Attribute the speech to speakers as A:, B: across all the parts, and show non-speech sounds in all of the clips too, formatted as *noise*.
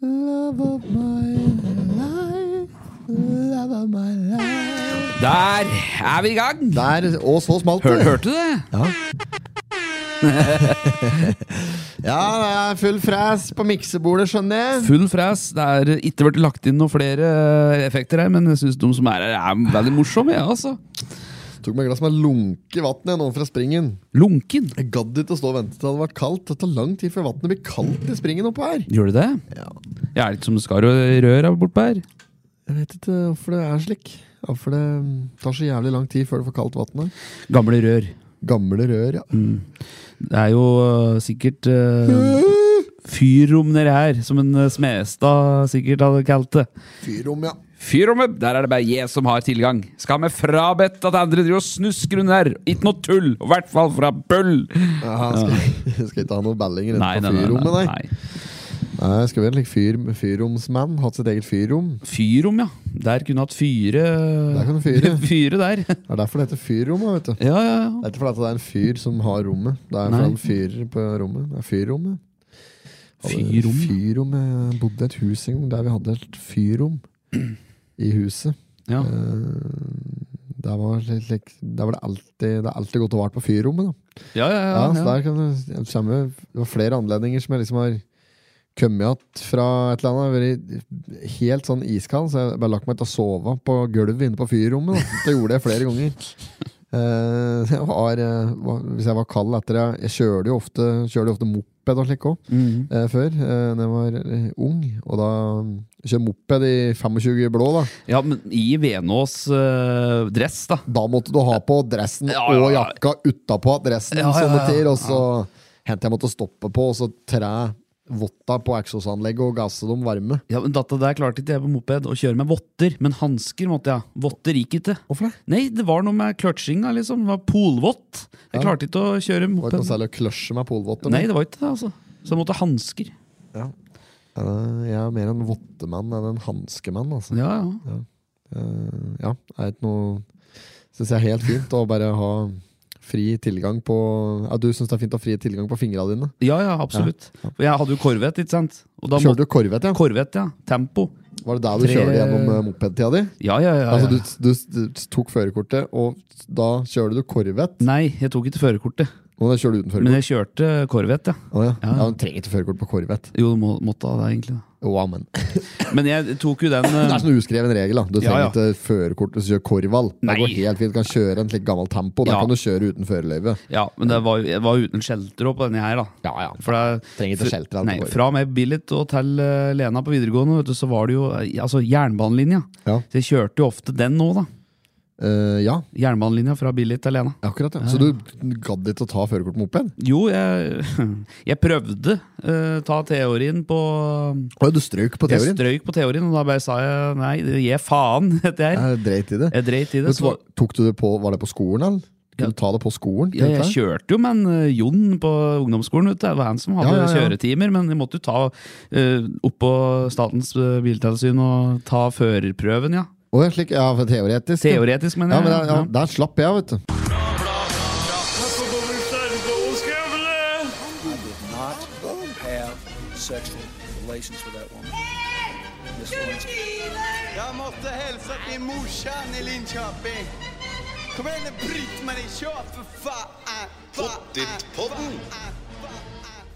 A: Love of my life, love of my life.
B: Der er vi i gang!
A: Der, og så smalt
B: Hør,
A: det.
B: hørte du det?
A: Ja, det er full fres på miksebordet, skjønner jeg.
B: Full fres. Det er ikke blitt lagt inn noen flere eh, effekter her, men jeg syns de som er her, er veldig morsomme. Ja, altså.
A: Tok meg et glass med lunke vann jeg nå fra springen.
B: Lunken.
A: Jeg gadd ikke å stå og vente til det hadde vært kaldt. Det tar lang tid før vannet blir kaldt i springen oppå her.
B: Gjør du det?
A: Ja,
B: Jeg er litt som skar og rør her bortpå her.
A: Jeg vet ikke hvorfor det er slik. Hvorfor det tar så jævlig lang tid før det får kaldt vann her.
B: Gamle rør.
A: Gamle rør, ja.
B: Mm. Det er jo eh, sikkert uh, fyrom nedi her, som en eh, Smestad sikkert hadde kalt det.
A: Fyrom, ja.
B: Fyrrommet, der er det bare jeg som har tilgang. Skal vi frabedt at andre driver og snusker rundt her? Ikke noe tull, i hvert fall fra bøll!
A: Aha, skal, *laughs* skal ikke ha noen bellinger
B: Nei,
A: inne på
B: nei, nei.
A: fyrrommet,
B: nei,
A: nei.
B: nei.
A: Nei, skal være en like, fyr, fyrromsmann. Hatt sitt eget fyrrom.
B: Fyrrom, ja. Der kunne hatt fyre
A: Der kan du fyre.
B: *laughs* Fyre der.
A: Det er derfor det heter fyrrom. da, vet du.
B: Ja, ja, ja.
A: Det er ikke fordi at det er en fyr som har rommet. Det er
B: Nei.
A: fordi han fyrer på rommet. Det er fyrrommet. Hadde
B: Fyrrom.
A: Fyrrom. Jeg bodde i et hus en gang der vi hadde et fyrrom
B: *clears throat*
A: i huset.
B: ja.
A: Eh, Der var, litt, lik- der var det alltid, det er alltid godt å være på fyrrommet. Da.
B: Ja, ja,
A: Ja, så
B: ja, ja.
A: der kan du, det kommer- det var flere anledninger som jeg liksom har kommet igjen fra et eller annet. Jeg har Vært helt sånn iskald, så jeg bare lagt meg til å sove på gulvet inne på fyrrommet. da. Det gjorde jeg flere ganger. Eh, jeg var, eh, var, hvis jeg var kald etter det Jeg kjørte jo ofte, kjørte jo ofte moped og slik òg
B: Mhm.
A: eh, før, eh, da jeg var eh, ung. Og da kjørte moped i 25 blå, da.
B: ja, men i Venås eh, dress, da.
A: Da måtte du ha på dressen
B: Ja, ja,
A: og
B: ja.
A: jakka utapå dressen,
B: Ja, ja,
A: som det
B: ja,
A: sier.
B: ja.
A: Og så hendte jeg måtte stoppe på, og så tre votta på eksosanlegget og gasse dem varme.
B: Ja, men Dette der klarte ikke jeg på moped, å kjøre med votter. Men hansker måtte jeg ha. Votter gikk ikke.
A: Hvorfor det?
B: Nei, det var noe med kløtsjinga, liksom. Det var polvott.
A: Ja.
B: Jeg klarte ikke å
A: Det var
B: kjøre
A: ikke
B: moped.
A: noe særlig å kløsje med polvotter.
B: Nei, det var ikke det, altså. Så jeg måtte ha hansker.
A: eh, Jeg er mer en vottemann enn en hanskemann, altså.
B: Ja, ja.
A: Eh, ja, det er ikke noe Syns jeg er helt fint å bare ha fri tilgang på Ja, du syns det er fint å ha fri tilgang på fingra dine?
B: ja, ja absolutt. For jeg hadde jo Corvette, ikke sant? Og da
A: Kjørte
B: måtte
A: du Corvette, ja?
B: Corvette, ja. Tempo.
A: Var det der du
B: Tre-
A: kjørte gjennom eh, mopedtida di?
B: Ja, ja, ja. ja.
A: Altså, du, du, du tok førerkortet, og da kjører du Corvette?
B: Nei, jeg tok ikke førerkortet,
A: Og da kjører du uten førerkort?
B: men jeg kjørte Corvette, ja.
A: Å, ja.
B: Ja.
A: ja, du trenger ikke førerkort på Corvette.
B: Jo, du må, måtte ha det, egentlig.
A: Oh, amen.
B: Men jeg tok jo
A: *laughs*
B: den
A: Det
B: eh,
A: er sånn uskreven regel. da Du trenger
B: Ja, ja.
A: ikke førerkort hvis du kjører Corval. Det
B: Nei.
A: går helt fint. Du kan kjøre en slik gammel Tempo. Da
B: Ja.
A: kan du kjøre uten førerløyve.
B: Ja, men det var, jeg var uten skjelter også på denne her, da.
A: Ja, ja.
B: For det,
A: Trenger ikke skjelter.
B: Nei, fra og med Billit og til eh, Lena på videregående, vet du, så var det jo eh, altså, jernbanelinja.
A: Ja.
B: Så jeg kjørte jo ofte den nå, da.
A: Eh, ja,
B: Jernbanelinja fra Billit til Lena.
A: akkurat. Ja. Så du gadd ikke å ta førerkort på moped?
B: Jo, jeg, *laughs* jeg prøvde eh, ta teorien på
A: Å, ja, du strøk på
B: Jeg
A: teorien?
B: strøyk på teorien, og da bare sa jeg nei, gi faen, *laughs* heter jeg.
A: Jeg dreit i det.
B: Jeg dreit i det.
A: Men
B: Så,
A: så, tok du det på, var det på skolen, eller?
B: Ja.
A: Kunne du ta det på skolen?
B: ja, jeg
A: tenkte jeg?
B: kjørte jo med en eh, Jon på ungdomsskolen. Vet du. Det var han som hadde
A: Ja, ja, ja.
B: kjøretimer, men jeg måtte jo ta eh, opp på Statens eh, biltilsyn og ta førerprøven, ja.
A: Å, ja, slik, ja, for teoretisk. ja.
B: Teoretisk, mener
A: Ja, men
B: jeg.
A: der, ja, der slapp jeg, vet du.
C: not have sexual relations with that woman. Miss Lewinsky.
D: Jeg måtte hilse til morsan i Linköping. Kom igjen, Britt-Marie, kjør, for faen! Pottit-podden!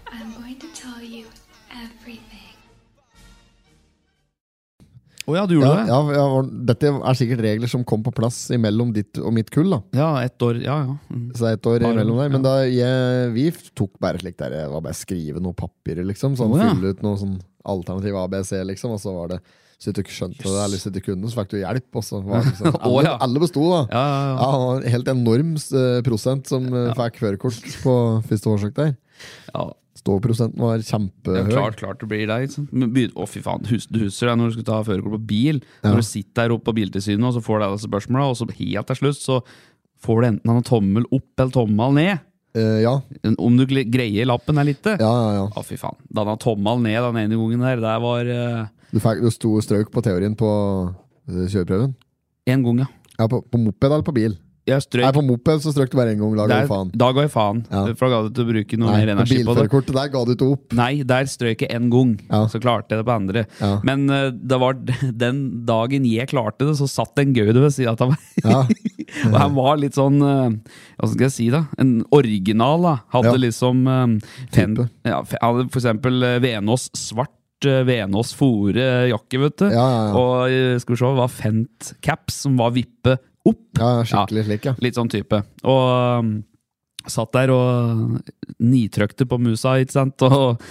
E: I'm going to tell you everything.
B: Å ja, du
A: Ja,
B: gjorde det?
A: ja, ja, dette er sikkert regler som kom på plass mellom ditt og mitt kull. da
B: Ja, ett år. Ja, ja. Mm.
A: Så det er ett år
B: Bare-
A: imellom der. Men da jeg, vi f- tok bare slik der Det var bare skrive noe papirer, liksom. Sånn,
B: Å, ja.
A: Fylle ut noe sånn alternativ ABC, liksom. Og så var det Hvis du ikke skjønte det, eller hvis du ikke kunne, så fikk du hjelp. Og så var det sånn. alle,
B: *laughs* Å, ja.
A: alle besto, da.
B: Ja, ja, ja.
A: Ja, det var en helt enorm eh, prosent som eh, fikk førerkort på første forsøk der.
B: ja.
A: Ståprosenten var
B: Ja,
A: kjempehøy.
B: klart, klart det blir deg. ikke sant? Men begyn- Å, fy faen. Hus, du husker det når du skulle ta førerkort på bil.
A: Ja.
B: Når du sitter der oppe på Biltilsynet og så får du alle disse spørsmåla, og så helt til slutt så får du enten en tommel opp eller tommel ned.
A: Eh, ja,
B: En- Om du gle- greier lappen eh. eller ikke.
A: ja, ja, ja.
B: Å, fy faen. Danna tommel ned den ene gangen der. Det var eh,
A: Du, fikk, du sto strøk på teorien på eh, kjøreprøven.
B: én gang, ja.
A: Ja, på, på moped eller på bil?
B: Jeg
A: Nei,
B: strøk
A: på moped så strøk du bare én gang. Lag
B: der,
A: og faen.
B: Da ga jeg faen.
A: Ja.
B: For da ga det til å bruke noe
A: Nei,
B: mer
A: på
B: energi på det.
A: bilførerkortet der ga du ikke opp.
B: Nei, der strøk jeg én gang.
A: Ja.
B: Så klarte jeg det på andre.
A: Ja.
B: Men eh, det var *laughs* den dagen jeg klarte det, så satt en gaude ved sida av meg.
A: Ja.
B: Og han var litt sånn eh, Hva skal jeg si, da? En original, da. Hadde
A: Ja.
B: liksom eh, fen,
A: Type.
B: ja, fe- Hadde for eksempel eh, Venås svart. eh, Venås fore eh, jakke, vet du.
A: Ja, ja, ja.
B: Og eh, skal vi se, var Fent caps som var vippe opp.
A: ja, skikkelig slik, ja.
B: Litt sånn type. Og um, satt der og nitrøkte på musa, ikke sant? *laughs* Og,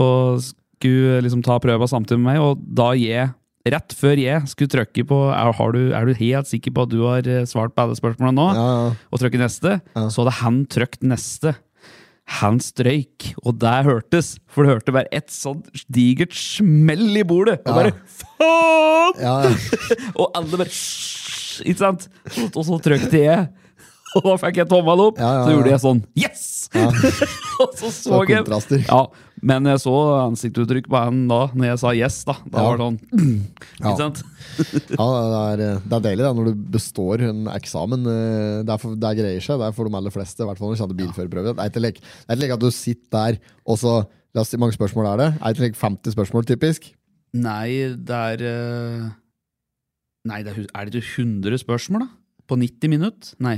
B: og skulle liksom ta prøva samtidig med meg, og da jeg Rett før jeg skulle trykke på er, har du, 'Er du helt sikker på at du har eh, svart på alle spørsmålene nå?'
A: ja, ja.
B: og trykke neste, så hadde han trykt neste. Han strøyk, og det hørtes. For du hørte bare et sånt digert smell i bordet. Og bare faen!
A: Ja, ja.
B: Og alle bare «Shh!» Ikke sant? Og så trykte jeg. *laughs* Og da fikk jeg tommel opp.
A: Ja, ja,
B: Så gjorde
A: ja.
B: jeg sånn. Yes! *laughs* og så så
A: Så
B: jeg
A: kontraster.
B: ja, Men jeg så ansiktsuttrykk på han da Når jeg sa yes. da Da
A: Ja.
B: var det sånn. *clears throat*
A: Ja.
B: Ikke sant?
A: ja det, er, eh, det er deilig da, når du består en eksamen. eh, Det, er for, det greier seg. Det er for de aller fleste. I hvert fall når du kjenner bilførerprøve. Det er ikke lek, det er ikke lek at du sitter der og så La oss si, mange spørsmål er det? Er det ikke lek 50 spørsmål, typisk?
B: Nei, det er eh, Nei, det er, hu- er det ikke 100 spørsmål, da? På 90 minutter? Nei.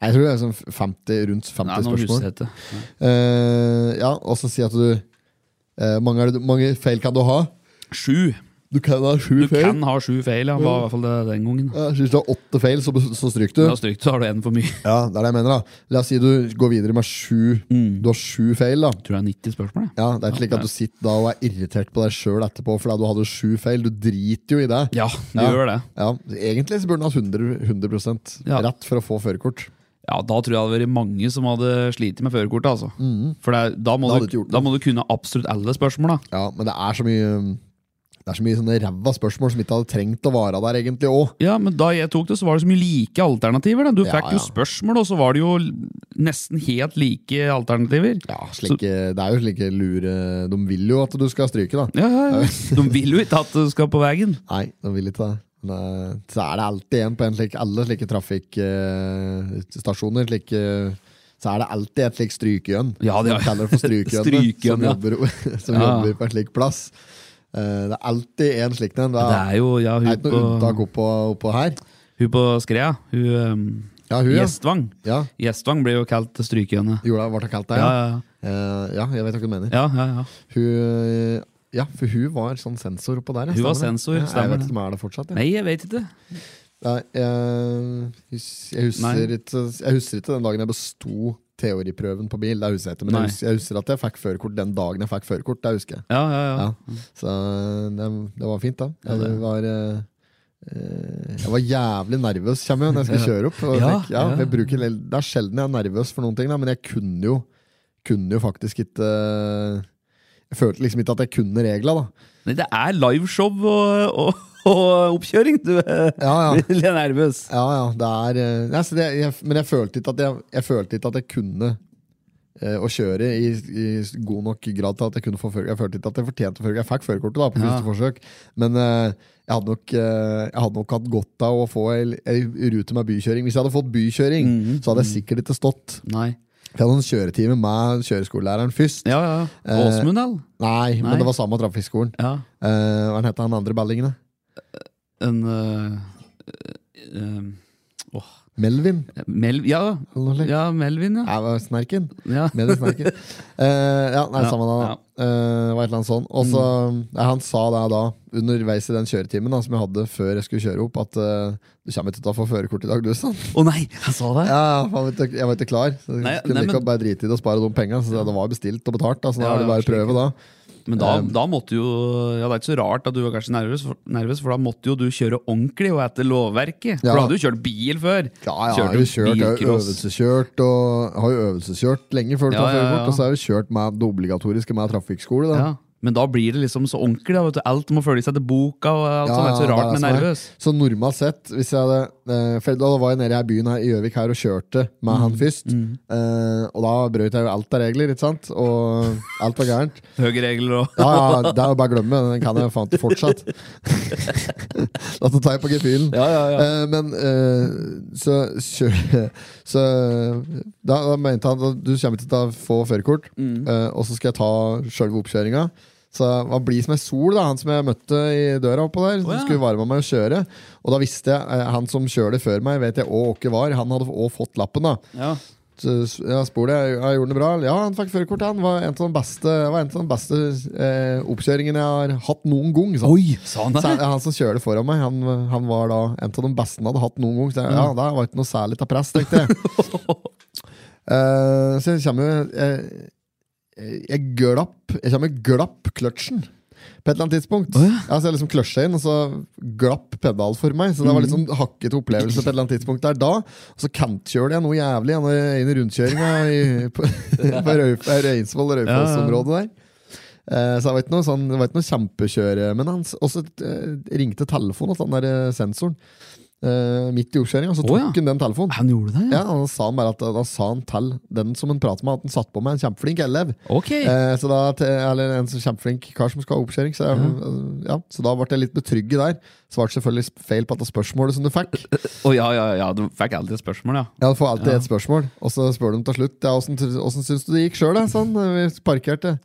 A: Nei, Jeg tror det er sånn 50, rundt 50
B: Nei nå
A: spørsmål.
B: husker jeg det.
A: Eh, ja, og så si at du eh, mange, er det, mange feil kan du ha?
B: Sju.
A: Du kan ha sju
B: Du
A: feil.
B: kan ha sju feil, ja. Var i hvert fall det den gangen.
A: Ja, Hvis du har åtte feil, så, så stryker du.
B: Da stryk, så har du én for mye.
A: Ja, det er det jeg mener da La oss si du går videre med sju Du har sju feil da
B: Tror jeg er 90 spørsmål, jeg.
A: Mm. ja, Det er ikke slik at du sitter da og er irritert på deg selv etterpå Fordi du hadde sju feil, du driter jo i det
B: Ja, du
A: Ja.
B: gjør det.
A: Ja, Egentlig så burde du ha 100%, 100%
B: Ja.
A: rett for å få førerkort.
B: Ja, Da tror jeg det hadde vært mange som hadde slitt med førerkortet. altså. For det, er- da, må
A: Mhm. Da hadde du ikke
B: du,
A: gjort
B: da
A: det.
B: må du kunne absolutt alle spørsmål. da.
A: Ja, men det er så mye um, Det er så mye sånne ræva spørsmål Som ikke hadde trengt å vare der egentlig også
B: Ja, Men da jeg tok det, så var det så mye like alternativer. da. Du
A: Ja,
B: fikk jo
A: ja.
B: spørsmål, og så var det jo l- nesten helt like alternativer.
A: ja, slike, Det er jo slike lure De vil jo at du skal stryke da
B: Ja,
A: *laughs*
B: ja, ja. De vil jo ikke at du skal på veien.
A: Nei, de vil ikke det Men, eh, så er det alltid en på en slik, alle slike trafikkstasjoner slike, Så er det alltid et slik strykejønn.
B: Ja, det er-
A: Som kaller det for
B: *laughs*
A: strykejønne.
B: Strykejønn,
A: som
B: ja.
A: jobber, *laughs* som
B: Ja.
A: jobber på en slik plass. Eh, det er alltid en slik en. Det
B: Det
A: er,
B: er jo ja,
A: det er
B: hun
A: ikke noe
B: på,
A: unntak oppå, oppå her.
B: hun på Skrea. Hun, ehm,
A: Ja, hun, ja.
B: Gjestvang.
A: ja.
B: Gjestvang blir jo kalt strykejønne.
A: Jorda ble kalt det,
B: Ja,
A: ja.
B: ja,
A: Eh, ja, jeg vet hva du mener.
B: ja, ja, ja.
A: Hun, eh, ja, for hun var sånn sensor oppå der. ja,
B: Hun var
A: stemmer det?
B: sensor,
A: Ja, jeg vet
B: stemmer det.
A: ikke om hun er det fortsatt. Ja.
B: Nei, jeg vet ikke.
A: Nei, jeg, hus- jeg, husker
B: Nei.
A: ikke, jeg husker ikke den dagen jeg besto teoriprøven på bil. Det husker jeg ikke, men
B: Nei.
A: jeg husker, jeg husker at jeg fikk førerkort den dagen jeg fikk førerkort. Det husker jeg.
B: Ja, ja, ja.
A: Ja. Så eh, det, det var fint, da.
B: Ja, det-
A: Jeg var, eh, eh, jeg var jævlig nervøs kommer jeg, når jeg skulle kjøre opp. Og jeg
B: Ja,
A: tenker, ja,
B: ja.
A: jeg bruker, en del- det er sjelden jeg er nervøs for noen ting, da, men jeg kunne jo, kunne jo faktisk ikke eh, Jeg følte liksom ikke at jeg kunne regla, da.
B: Nei, det er liveshow og, og, og oppkjøring. Du er *laughs*
A: Ja, ja.
B: litt nervøs.
A: Ja, ja, det er eh, nei, så det, jeg, Men jeg følte ikke at jeg, jeg, følte ikke at jeg kunne eh, å kjøre i, i god nok grad til at jeg kunne få førerkort. Jeg følte ikke at jeg fortjente førerkort. Jeg fikk førerkortet da, på
B: Ja.
A: første forsøk, men eh, jeg, hadde nok, eh, jeg hadde nok hatt godt av å få ei ei rute med bykjøring. Hvis jeg hadde fått bykjøring,
B: Mhm.
A: så hadde jeg sikkert ikke stått.
B: Nei.
A: For jeg hadde en kjøretime med kjøreskolelæreren først.
B: Ja, ja.
A: Eh,
B: Åsmund, eller?
A: Nei,
B: Nei.
A: men det var samme trafikkskolen.
B: Ja.
A: Eh, hva het han andre ballingen, da?
B: En eh, eh, åh,
A: Melvin?
B: Mel, ja,
A: Eller noe slikt?
B: ja, Melvin, ja.
A: Nei, det var Snerken?
B: ja.
A: Med det snerket. Eh, ja, nei,
B: Ja,
A: samme da. da.
B: ja. Mm.
A: Eh, var et eller annet sånn. Og så nei, Han sa det da, underveis i den kjøretimen da, som jeg hadde før jeg skulle kjøre opp, at eh, du kommer ikke til å få førerkort i dag, du, sa han.
B: Å nei, han sa det!
A: *laughs* Ja, jeg var ikke- jeg var ikke klar. Så jeg
B: Nei,
A: kunne
B: nei,
A: like
B: men-
A: godt bare drite i det og spare de penga. Så det var bestilt og betalt, da, så da
B: Ja,
A: er det bare å
B: ja,
A: prøve, da.
B: Men
A: Eh.
B: da, da måtte jo Ja, Det er ikke så rart at du var kanskje nervøs, for, nervøs, for da måtte jo du kjøre ordentlig og etter lovverket.
A: Ja.
B: For da hadde du kjørt bil før!
A: Ja, ja, jeg har
B: Kjørte
A: jo kjørt, jeg har jo
B: bilcross.
A: øvelseskjørt og har jo øvelseskjørt lenge før du
B: Ja,
A: tar
B: ja, ja, ja.
A: førerkort. Og så har jeg jo kjørt med det obligatoriske med trafikkskole. Da.
B: Ja. Men da blir det liksom så ordentlig. Da, vet du. Alt må følges etter boka. og alt sånt. Det er
A: ja,
B: så rart,
A: det
B: men
A: som er.
B: nervøs.
A: Så normalt sett hvis jeg hadde, eh, For da var jeg nede i byen her i Gjøvik her og kjørte med
B: Mm,
A: han først. Eh, og da brøt jeg jo alt av regler, ikke sant? Og alt var gærent.
B: Høye regler og
A: Ja, ja, det er jo bare å glemme. Den kan jeg faen ikke fortsatt. *laughs* At det tar jeg på gefühlen.
F: Ja, ja, ja.
A: Eh, men eh, så, kjø- så da, da mente han at du kommer til å ta- få førerkort,
B: Mm.
A: eh, og så skal jeg ta sjølve oppkjøringa. Så han blir som ei sol, da, han som jeg møtte i døra oppå der. Som
B: Å, ja.
A: skulle varme meg og kjøre. Og da visste jeg, eh, han som kjører det før meg, vet jeg òg åkke var. Han hadde òg fått lappen, da.
B: Ja.
A: Så jeg spurte jeg, jeg gjorde det bra. Ja, han fikk førerkort. Han var en av de beste, var en av de beste eh, oppkjøringene jeg har hatt noen gang. sa han.
B: Oi, sa han
A: Så
B: det?
A: han, han som kjører foran meg, han, han var da en av de beste han hadde hatt noen gang. Så jeg, ja,
B: Mm.
A: det var ikke noe særlig til press, tenkte
B: *laughs*
A: jeg. Eh, så jeg kommer jo Jeg, jeg glapp Jeg kommer glapp kløtsjen på et eller annet tidspunkt.
B: Å, ja.
A: ja. så jeg liksom kløtsja inn, og så glapp pedal for meg. Så det var litt
B: Mm.
A: sånn hakkete opplevelse på et eller annet tidspunkt der da. Og så kantkjøler jeg noe jævlig gjennom- inn i rundkjøringa i- på, *laughs* på Røyf- Reinsvoll og Raufoss-området der. Eh, Så jeg vet noe, sånn, det var ikke noe kjempekjøre, men han s- også eh, ringte telefonen til den der eh, sensoren eh, midt i oppkjøringa, så
B: Å,
A: tok
B: ja.
A: han den telefonen.
B: Han gjorde det,
A: Ja, og Da sa han bare at Da sa han til den som han pratet med, at han satt på med en kjempeflink elev.
B: Ok.
A: Eh, så da, til- eller en sånn kjempeflink kar som skal ha oppkjøring. Så, jeg- ja, så da ble jeg litt betrygget der. Svarte selvfølgelig sp- feil på dette spørsmålet som du fikk.
B: Å ja, ja, ja, du fikk alltid et spørsmål, ja.
A: Ja, Du får alltid ett spørsmål, og så spør de til slutt ja, åssen, åssen syns du det gikk sjøl. Sånn, eh, vi parkerte.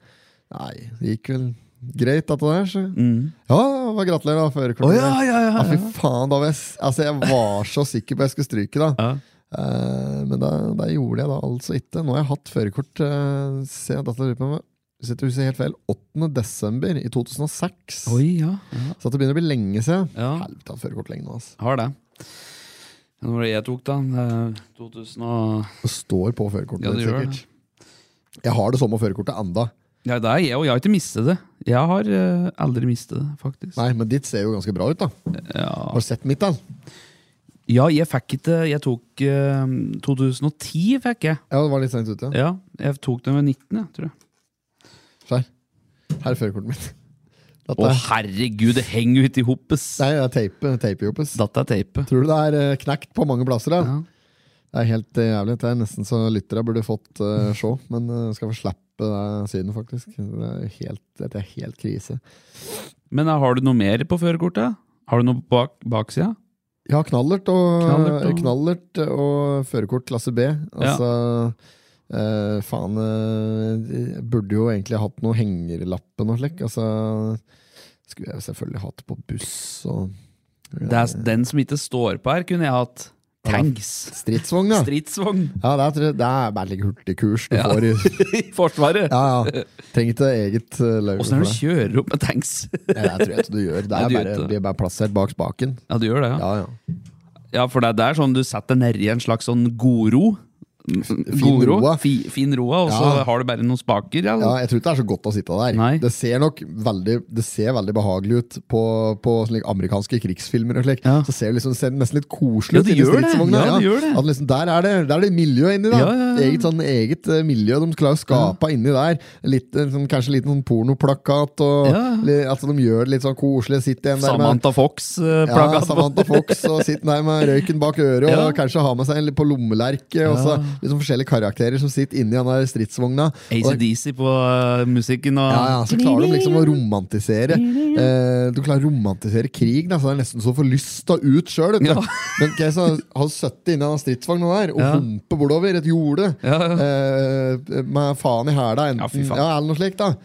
A: Nei, det gikk vel greit, dette der. Så. Ja, bare gratulerer, da. Førerkortet.
B: Mm. Å ja, ja, ja,
A: Ja, fy
B: ja.
A: faen, da var jeg, s- altså, jeg var så sikker på at jeg skulle stryke, da.
B: Ja.
A: Eh, men det, det gjorde jeg da altså ikke. Nå har jeg hatt førerkort eh, se, dette lurer jeg på om jeg- hvis jeg ikke husker helt feil, 8. desember i 2006.
B: Oi, ja. ja.
A: Så det begynner å bli lenge siden.
B: Ja.
A: Helvete, jeg har hatt førerkort lenge nå. Altså.
B: Har det. Men Når jeg tok den, eh, 2000 og...
A: Det står på førerkortet.
B: Ja, det
A: mitt,
B: gjør det.
A: sikkert. Jeg har det samme førerkortet enda.
B: Ja, det er jeg, og jeg har ikke mistet det. Jeg har eh, aldri mistet det, faktisk.
A: Nei, men ditt ser jo ganske bra ut, da.
B: Ja.
A: Har du sett mitt, da?
B: Ja, jeg fikk ikke Jeg tok eh, 2010 fikk jeg.
A: Ja, det var litt sent ute.
B: Ja, jeg tok den ved 19, jeg, tror jeg.
A: Skjær. Her er førerkortet mitt. *laughs* Dette
B: Å,
A: er,
B: herregud, det henger jo ikke i hopes!
A: nei, det er teipe, teipejoppes.
B: Dette er teipet.
A: Tror du det er eh, knekt på mange plasser? Da?
B: Ja.
A: Det er helt eh, jævlig. Det er nesten så lyttere burde fått eh, se, men eh, skal få slippe det synet, faktisk. Det er helt, dette er helt krise.
B: Men eh, har du noe mer på førerkortet? Har du noe på bak, baksida?
A: Ja, knallert og,
B: Knallert
A: knallert
B: og-
A: og... førerkort klasse B. Altså eh, Faen, eh, burde jo egentlig hatt noe hengerlappen og slik. Altså, skulle jeg selvfølgelig hatt på buss og
B: Det er s- den som ikke står på her, kunne jeg hatt. Tanks.
A: stridsvogn, ja.
B: Stridsvogn
A: ja det, er, det er bare litt hurtigkurs du får i
B: i Forsvaret.
A: Ja, ja. Trenger ikke eget eh, løyve
B: Åssen
A: for
B: er det du
A: det.
B: kjører opp med tanks?
A: Nei, det tror jeg ikke du gjør. Det
B: Nei,
A: er
B: du gjør
A: bare,
B: ikke det.
A: blir bare plassert bak spaken.
B: Ja, du gjør det, ja.
A: Ja, ja.
B: Ja, for det er der sånn du setter deg nedi en slags sånn godro. Fin
A: roa.
B: Fi, fin roa, og så
A: Ja.
B: har du bare noen spaker. Ja.
A: ja, Jeg tror ikke det er så godt å sitte der.
B: Nei.
A: Det ser nok veldig Det ser veldig behagelig ut på, på slik amerikanske krigsfilmer. og slik
B: Ja.
A: Så ser det liksom, ser det nesten litt koselig ut
B: Ja, det
A: inni
B: gjør det.
A: stridsvogna.
B: Ja, det gjør det.
A: At liksom, der, er det, der er det miljø inni, da.
B: Ja, ja, ja.
A: Eget, sånn, eget eh, miljø de klarer å skape inni der. Litt, eh, sånn, kanskje en liten sånn pornoplakat. Og,
B: Ja.
A: li- at de gjør det litt sånn koselig. Sitter en der med
B: Samantha eh,
A: Ja,
B: Fox-plagga.
A: Samantha Fox og sitter der med røyken bak øret
B: Ja.
A: og kanskje har med seg en litt på lommelerke. Og så liksom forskjellige karakterer som sitter inni den der stridsvogna. Og-
B: ACDC på eh, musikken og
A: ja, ja, så klarer de liksom å romantisere eh, Du klarer å romantisere krig, da, så det er nesten så du får lysta ut sjøl.
B: Ja.
A: Men okay, så har du sittet inni den stridsvogna der og
B: Ja.
A: humper bortover et jorde
B: Ja, ja.
A: eh, med faen i hæla,
B: Ja, fy
A: enten
B: faen.
A: ja, eller noe slikt. da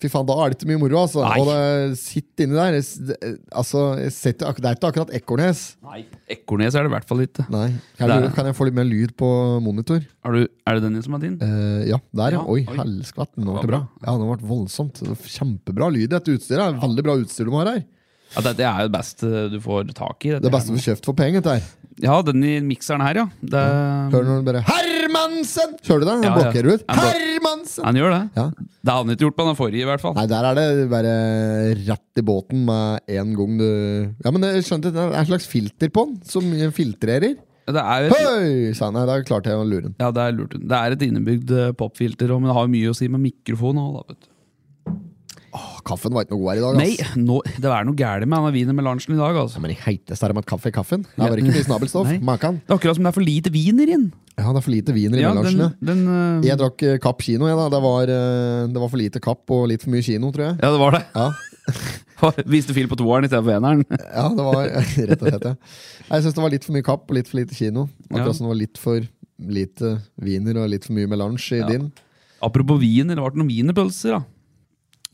A: Fy faen, da er det ikke mye moro, altså.
B: Nei.
A: Og det sitter inni der. det- Altså, jeg setter, ak- det er ikke akkurat Ekornes.
B: Nei, Ekornes er det i hvert fall ikke.
A: Nei. Kan,
B: Der,
A: du,
B: ja.
A: kan jeg få litt mer lyd på monitor?
B: Er, du, er det denne som er din?
A: Eh, ja, der, ja.
B: Ja,
A: Oi,
B: oi.
A: helskvatt. Nå ble
B: var
A: det bra. Ja, det ble voldsomt. Det var Kjempebra lyd i dette utstyret. Det er Veldig bra utstyr de har her.
B: Ja, Dette er jo det beste du får tak i. dette
A: Det beste
B: her.
A: du får kjøpt for penger. dette her.
B: Ja, den i mikseren her, ja. Det,
A: Hør når den bare Hermansen! Hører du det? Den
B: Ja, ja.
A: blokkerer ut.
B: Han blok-
A: Hermansen!
B: Han gjør det.
A: Ja.
B: Det hadde han ikke gjort på den forrige, i hvert fall.
A: Nei, der er det bare rett i båten med en gang du Ja, men jeg skjønte det er en slags filter på den, som filtrerer.
B: Det er, jo-
A: Høy! Sa han. Nei, da klarte jeg å lure den.
B: ja, det er lurt. Det er et innebygd eh, popfilter, og- men det har jo mye å si med mikrofon òg, da, vet du.
A: Å, Kaffen var ikke noe god her i dag,
B: Nei,
A: ass.
B: nå, det er noe gærent med denne wiener melangen i dag, altså.
A: Ja, men i heiteste er det med at kaffe i kaffen. Det var ikke mye snabelstoff.
B: Nei.
A: Makan.
B: Det er akkurat som det er for lite wiener inn.
A: Ja, det er for lite viner i
B: Ja, den,
A: melangen.
B: den, eh,
A: Jeg drakk eh, Kapp kino. Jeg, da. Det, var, eh, det var for lite Kapp og litt for mye kino, tror jeg.
B: ja, det *laughs* var det.
A: Ja.
B: Viste film på toeren istedenfor eneren. *laughs*
A: Ja, det var *laughs* rett og slett ja. Jeg syns det var litt for mye kapp og litt for lite kino.
B: Ja.
A: Akkurat som det var litt for lite wiener og litt for mye melange i
B: Ja.
A: din.
B: Apropos wiener, det ble noen wienerpølser da.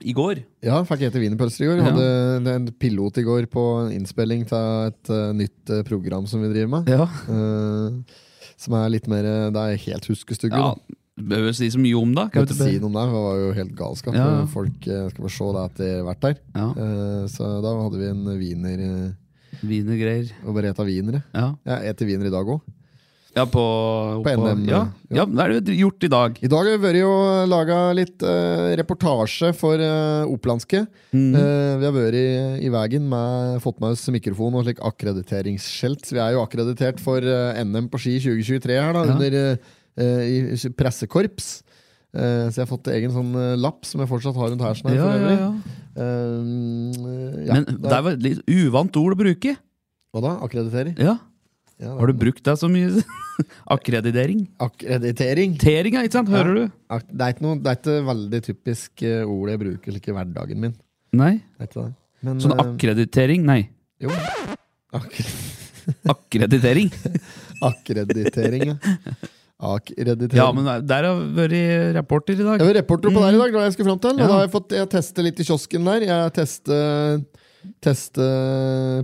B: i går.
A: Ja, fikk hete wienerpølser i går. Jeg
B: Ja.
A: hadde en pilot i går på en innspilling av et eh, nytt eh, program som vi driver
B: *laughs*
A: med.
B: Ja.
A: Eh, som er litt mer eh, Det er helt huskestugge.
B: ja.
A: da.
B: Behøver ikke si så mye om det.
A: Kan
B: Kan
A: jeg
B: vi
A: ikke si
B: ikke
A: noe om det, for det var jo helt galskap.
B: Ja, ja.
A: Folk eh, skal få se det etter hvert der.
B: Ja,
A: Eh, Så da hadde vi en wiener eh,
B: Wienergreier.
A: og bare eta wienere.
B: Ja.
A: Jeg eter wiener i dag òg.
B: ja, på,
A: På NM,
B: Ja. ja, det er det gjort i dag.
A: I dag har vi vært og laga litt eh, reportasje for eh, Opplandske.
B: Mhm. Mm.
A: Eh, vi har vært i, i veien med fått med oss mikrofon og slik akkrediteringsskjelt. Så Vi er jo akkreditert for eh, NM på ski 2023 her, da,
B: Ja.
A: under eh, i- i pressekorps. Eh, så jeg har fått egen sånn eh, lapp som jeg fortsatt har rundt hersen. Her,
B: Ja,
A: for
B: ja,
A: øvrig.
B: ja.
A: Eh, ja,
B: Men
A: det
B: det
A: er-
B: var et litt uvant ord å bruke.
A: Hva da? Akkrediterer?
B: Ja.
A: Ja, det er-
B: Har du brukt det så mye? *laughs* Akkreditering.
A: Akkreditering?
B: Teringa, ikke sant? Hører du?
A: Ak det, er ikke noe, det er ikke veldig typisk eh, ord jeg bruker slik i hverdagen min.
B: Nei.
A: Det er ikke det. Men,
B: Sånn
A: eh,
B: akkreditering? Nei.
A: Jo. Ak- *laughs*
B: Akkreditering.
A: Akkreditering, ja. Akkreditering.
B: Ja, men der har vært reporter i
A: Jeg
B: dag.
A: var reporter på der i dag, det var det jeg skulle fram til.
B: Ja.
A: Og da har jeg fått jeg teste litt i kiosken der. Jeg teste, teste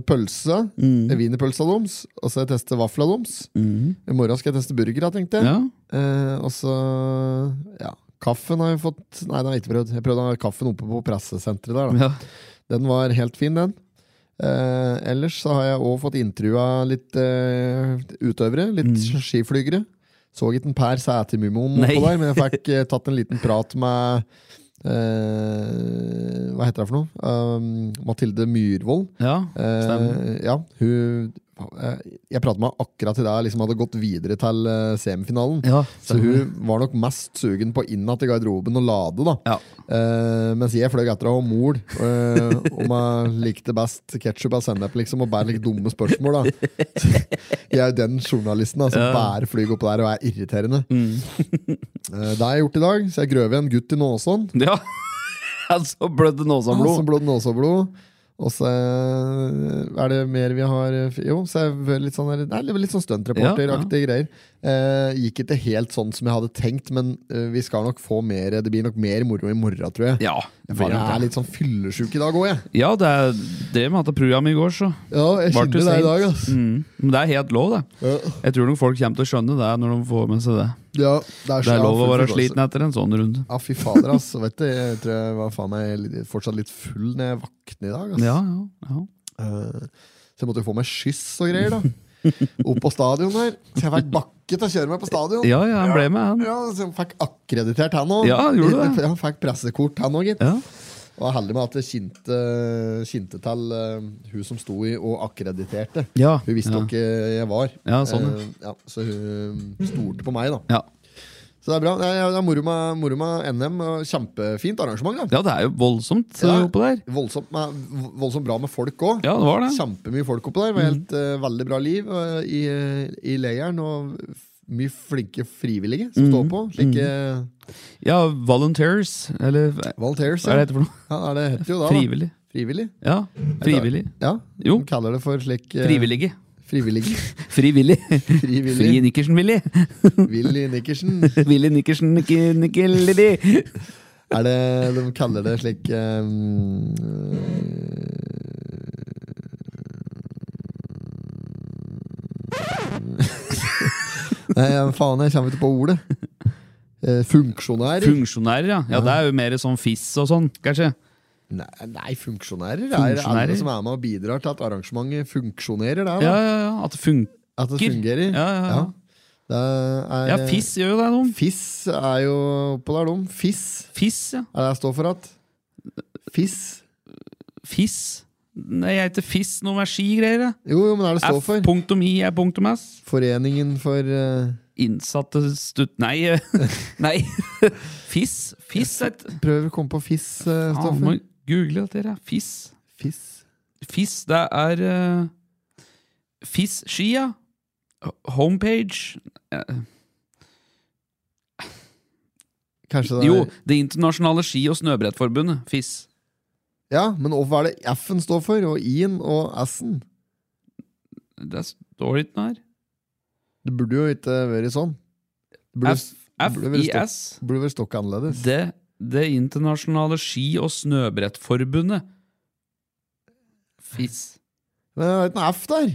A: pølsa.
B: Mm.
A: Wienerpølsa deres. Og så jeg teste vafla deres.
B: Mm.
A: I morgen skal jeg teste burgere, tenkte jeg.
B: Ja.
A: Eh, og så ja. Kaffen har jeg fått Nei, den har jeg ikke prøvd. Jeg prøvde den kaffen oppe på pressesenteret der. da
B: ja.
A: Den var helt fin, den. Eh, ellers så har jeg òg fått intervjua litt eh, utøvere. Litt skiflygere. Så ikke en Per Sætermumoen
B: Mm. Nei.
A: oppå der, men jeg
B: *laughs*
A: fikk eh, tatt en liten prat med eh, Hva heter det for noe? Um, Mathilde Myhrvold.
B: ja.
A: Eh,
B: Stemmer.
A: ja, hun eh, Jeg pratet med henne akkurat til det liksom hadde gått videre til eh, semifinalen.
B: ja
A: Så hun var nok mest sugen på inn igjen i garderoben og lade, da.
B: Ja. *laughs*
A: Eh, mens jeg fløy etter henne og mol eh, om jeg likte best ketsjup og sennep, liksom, og bare like dumme spørsmål. da *laughs* Jeg er jo den journalisten da, som
B: Ja.
A: bare flyr opp der og er irriterende. Eh, det har jeg gjort i dag, så jeg grøv igjen gutt i Nåsån.
B: Ja. Så blødde
A: Han Som
B: nåsablod.
A: Ah, blod, nåseblod. Og så eh, er det mer vi har eh, Jo, så er det litt sånn, der- det er litt sånn stuntreporteraktige greier. Eh, gikk ikke helt sånn som jeg hadde tenkt, men eh, vi skal nok få mer Det blir nok mer moro i morgen, tror jeg.
B: Ja.
A: For jeg er litt sånn fyllesjuk i dag òg, jeg.
B: Ja, det er det vi hadde programmet i går, så.
A: Ja, jeg
B: Var
A: kjenner
B: det
A: det i
B: sent?
A: dag, ass.
B: Mm. Men det er helt lov, det.
A: Ja,
B: Jeg tror nok folk kommer til å skjønne det når de får med seg det.
A: ja, det, er
B: Det er lov å
A: full
B: være
A: forståelse.
B: sliten etter en sånn runde.
A: Ja, fy fader, ass. Vet du, jeg tror jeg var faen meg litt- fortsatt litt full når jeg våkner i dag, ass.
B: Ja, ja, ja.
A: Eh, Så jeg måtte jo få meg skyss og greier, da. Opp på stadion der. Så jeg fikk bakke til å kjøre meg på stadion.
B: ja, ja han ble med, han.
A: Ja, så jeg fikk akkreditert han òg.
B: Ja, gjorde du det?
A: Ja, fikk pressekort, han òg, gitt.
B: Ja.
A: Og jeg er heldig med at det kjente, kjente til eh, hun som sto i og akkrediterte.
B: Ja.
A: Hun visste jo
B: ja.
A: ikke jeg var.
B: Ja, sånn, ja.
A: Eh, ja, så hun eh, stolte på meg, da.
B: Ja.
A: Så det er bra. Det er, det er moro, med, moro med NM. og Kjempefint arrangement. da
B: ja, det er jo voldsomt
A: Ja.
B: eh, oppå der.
A: Voldsomt, med, voldsomt bra med folk òg.
B: Ja, det var det.
A: Kjempemye folk oppå der. Det var
B: Mm.
A: Helt, eh, veldig bra liv eh, i, i leiren. Og f- mye flinke frivillige som
B: Mm.
A: står på. Slike eh,
B: Ja, Volunteers, eller hva
A: volunteers.
B: er det
A: Ja.
B: heter for noe?
A: Ja, det heter jo da, da.
B: Frivillig.
A: Frivillig.
B: Ja, frivillig.
A: Ja,
B: Jo.
A: de kaller det for slik eh,
B: Frivillige.
A: Frivillige.
B: *laughs* Frivillig. Fri
A: Frivillig.
B: Nikkersen-Willy.
A: Willy Nikkersen.
B: Willy Nikkersen Nikkelidi.
A: Er det De kaller det slik eh, *laughs* Nei, faen, jeg kommer ikke på ordet. Eh, funksjonærer?
B: Funksjonærer, ja. ja. Det er jo mer sånn fiss og sånn, kanskje.
A: nei, nei, funksjonærer det er alle
B: Funksjonærer.
A: som er med og bidrar til at arrangementet funksjonerer. Det, da.
B: Ja, ja, ja. At det funker.
A: At det fungerer.
B: Ja, ja, ja.
A: Det er,
B: Ja, fiss gjør jo det, noen.
A: Fiss er jo oppå der, de. Fiss
B: Fiss, ja.
A: er det jeg står for at. Fiss.
B: Fiss. Nei, jeg heter Fiss noe med skigreier. jeg.
A: Jo, jo, men det er det står for.
B: F.I er punktum S.
A: Foreningen for eh,
B: Innsatte stutt... Nei. *laughs* eh, Nei. Fiss. Fiss er et
A: Prøver å komme på fiss, eh,
B: ah,
A: Stoffer.
B: Må google dette her. ja. Fiss.
A: Fiss.
B: Fiss, det er eh, Fiss ski, ja. Homepage Eh,
A: Kanskje det er
B: Jo, Det internasjonale ski- og snøbrettforbundet. Fiss.
A: Ja, men hva er det F-en står for? Og I-en og S-en?
B: Det står det ikke noe her.
A: Det burde jo ikke vært sånn. Det burde, burde vel stå-
B: FIS.
A: burde vært stokk annerledes.
B: Det, det internasjonale ski- og snøbrettforbundet. FIS.
A: Men det er ikke noe F der!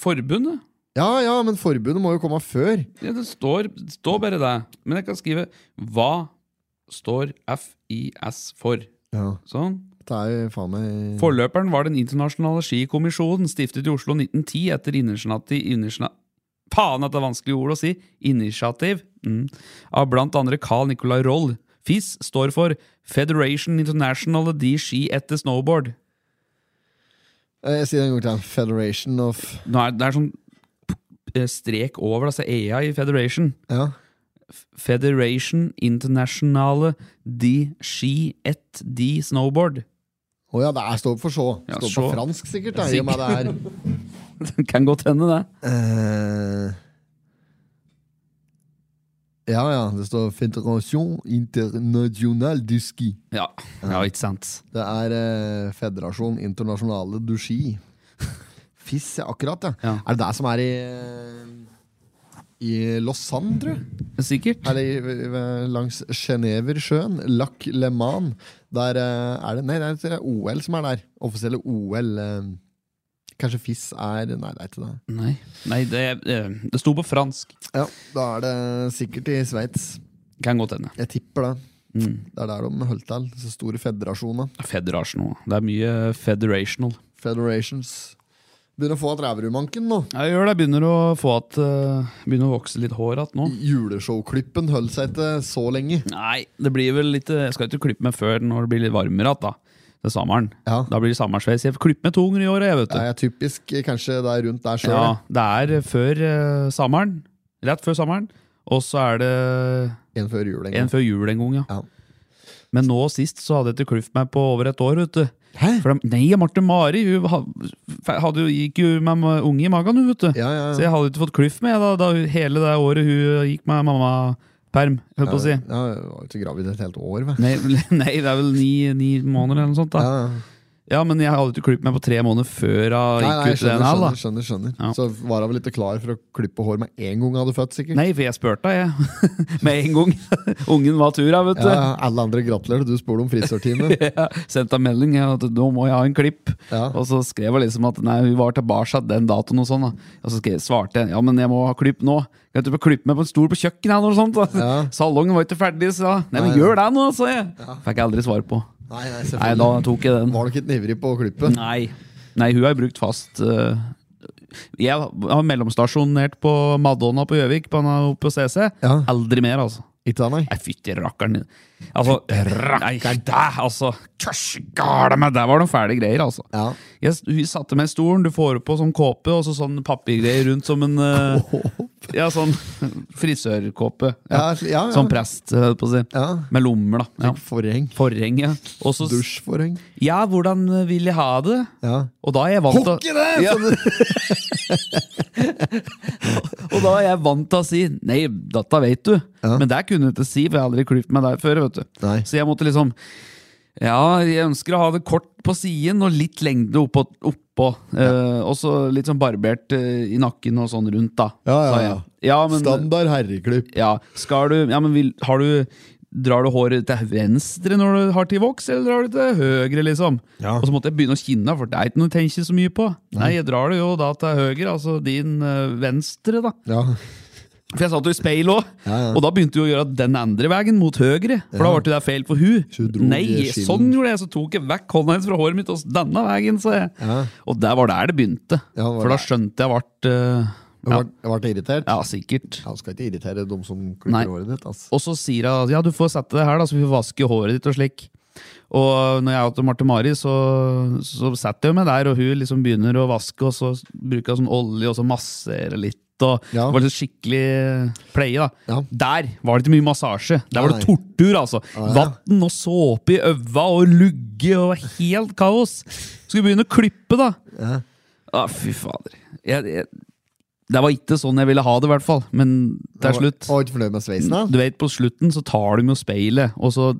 B: Forbundet?
A: Ja ja, men forbundet må jo komme før.
B: Ja, det står, det står bare det. Men jeg kan skrive hva står FIS for.
A: Ja,
B: Sånn.
A: det er jo faen meg
B: Forløperen var Den internasjonale skikommisjonen, stiftet i Oslo 1910 etter initiativ initiativ- Faen at det er vanskelige ord å si! Initiativ mm. av blant andre Carl Nicolai Roll. FIS står for Federation International de Ski etter Snowboard.
A: Eh, Jeg sier det en gang til. Federation of
B: Nå er, det er sånn eh, strek over, altså EA i Federation.
A: Ja.
B: Federation Internationale de Ski et de Snowboard. *laughs*
A: Å ja, det er står for så.
B: Ja,
A: Står på
B: så.
A: fransk, sikkert, da, i og med det er
B: Det kan godt hende, det.
A: *laughs* Eh, Ja ja, det står Federation Internationale du Ski.
B: Ja, ja ikke sant.
A: Det er eh, Federasjon Internasjonale du Ski. Fiss, ja, akkurat, ja.
B: Ja.
A: Er det det som er i eh, I Lausanne, tror jeg?
B: Sikkert.
A: Eller i- ved- langs Geneversjøen, Lac Le Mans. Der eh, er det Nei, det er- det er OL som er der. Offisielle OL. eh, Kanskje FIS er Nei, det er ikke det.
B: Nei, Nei det, eh, det sto på fransk.
A: Ja, Da er det sikkert i Sveits.
B: Kan godt hende.
A: Jeg tipper det.
B: Mm.
A: Det er der de holdt til, disse store federasjonene.
B: Federation òg. Det er mye federational.
A: Federations. Begynner å få at ræverumanken nå.
B: Jeg gjør det. Jeg begynner å få at eh, Begynner å vokse litt hår igjen nå.
A: Juleshowklippen holdt seg ikke så lenge.
B: Nei, det blir vel litt eh, Jeg skal ikke klippe meg før når det blir litt varmere igjen, da. Til sommeren.
A: Ja.
B: Da blir det sommersveis. Jeg klipper meg to ganger i året, jeg, vet du.
A: Det er typisk eh, kanskje det er rundt der sjøl.
B: Ja, det er før uh, sommeren. Rett før sommeren. Og så er det
A: eh, En før jul en gang.
B: en før jul en gang, ja.
A: Ja.
B: Men nå sist så hadde jeg ikke klift meg på over et år, vet du.
A: Hæ?
B: For de, nei, Marte Mari hun ha- fe- hadde, jo- gikk jo med ma- unge i magen, hun, vet du.
A: Ja, ja,
B: Så jeg hadde ikke fått klift med da, da hun- hele det året hun eh, gikk med mammaperm, holdt på å si.
A: Ja, jeg var jo ikke gravid et helt år, hva?
B: Nei, *laughs* nei, det er vel ni, ni måneder eller noe sånt.
A: Ja,
B: da.
A: ja.
B: Ja, men jeg hadde ikke klippet meg på tre måneder før hun
A: Nei, nei,
B: gikk ut
A: skjønner,
B: den her. da.
A: skjønner, skjønner, skjønner.
B: Ja.
A: Så var hun vel ikke klar for å klippe hår med en gang hun hadde født, sikkert.
B: *laughs* Nei, for jeg spurte jeg. *laughs* Med en gang. Ungen var tur, jeg, vet du.
A: Ja, ja, alle andre gratulerer, du spurte om frisørtime.
B: *laughs* Jeg sendte en melding jeg, at nå må jeg ha en klipp.
A: Ja.
B: Og så skrev hun liksom at nei, hun var tilbake den datoen. Og sånn da. Og så skrev, svarte jeg ja, men jeg må ha klipp nå. Kan du bare klippe meg på en stol på kjøkkenet? Eller noe sånt, da.
A: Ja.
B: *laughs* Salongen var ikke ferdig, sa jeg. Nei,
A: Nei,
B: men
A: nei.
B: gjør det nå, sa jeg. Fikk jeg aldri svar på.
A: Nei, nei,
B: Nei, da tok jeg den.
A: Var du ikke litt ivrig på å klippe?
B: Nei, nei hun har jeg brukt fast. eh, jeg har mellomstasjonert på Madonna på Gjøvik, på, oppe på CC.
A: Ja.
B: Aldri mer, altså.
A: Ikke da, nei.
B: Nei, fytti rakkeren. Altså, rakkeren der, altså! Tørse gale meg! Der var noen fæle greier, altså.
A: Ja.
B: Jeg, hun satte meg i stolen, du får på sånn kåpe og så sånn papirgreier rundt som en eh, Ja, sånn frisørkåpe. Ja.
A: Ja, ja, ja.
B: Som prest, eh, på å si.
A: Ja.
B: Med lommer, da. Ja.
A: Forheng.
B: Forheng, ja. Og så s-
A: Dusjforheng.
B: Ja, hvordan vil jeg ha det?
A: Ja.
B: Og da er jeg vant til
A: det!
B: Ja.
A: sånn-
B: Og da er jeg vant til å si Nei, dette vet du
A: Ja.
B: Men det kunne jeg ikke si, for jeg har aldri klippet meg der før vet du.
A: *laughs* Nei.
B: Så jeg måtte liksom Ja, jeg ønsker å ha det kort på siden Og litt lengde oppå, oppå eh, Og så litt sånn barbert eh, I nakken og sånn rundt da
A: Ja, ja,
B: sa
A: ja.
B: jeg. ja men,
A: Standard herreklipp.
B: ja, skal du Ja, men vil, har du Drar du håret til venstre når du har til voks Eller drar du til høyre liksom
A: Ja.
B: Og så måtte jeg begynne å kinne For det er ikke noe jeg tenker så mye på Nei, jeg drar det jo da til høyre Altså din eh, venstre da
A: Ja.
B: for jeg satt jo i speil òg,
A: Ja, ja.
B: og da begynte hun å gjøre den andre veien, mot høyre. For da ble det der feil for hun.
A: Så hun dro
B: Nei,
A: i skillen.
B: sånn gjorde jeg, så tok jeg vekk hånda hennes fra håret mitt, og så denne veien, sa jeg.
A: Ja.
B: Og der var der det begynte.
A: Ja, det var
B: for da
A: der.
B: skjønte jeg vart eh,
A: Du
B: ja,
A: ble, ble irritert?
B: ja, sikkert.
A: Ja, du skal ikke irritere dem som
B: Nei.
A: klipper håret ditt. Altså.
B: Og så sier hun at ja, du får sette det her, da, så vi får vaske håret ditt og slik. Og når jeg er til Marte Mari, så, så setter jeg meg der, og hun liksom begynner å vaske, og så bruker hun sånn olje, og så masserer litt. Og
A: Ja.
B: det var liksom skikkelig pleie, da.
A: Ja.
B: Der var det ikke mye massasje. Der var
A: Nei.
B: det
A: Ah,
B: tortur, altså.
A: ja.
B: Vann og såpe i øva og lugge og helt kaos. Skulle begynne å klippe, da.
A: Ja.
B: Ah, fy fader. Jeg, jeg, Det var ikke sånn jeg ville ha det, i hvert fall. Men til slutt
A: Og ikke fornøyd med sveisen, da?
B: Du vet, På slutten så tar de jo speilet, og så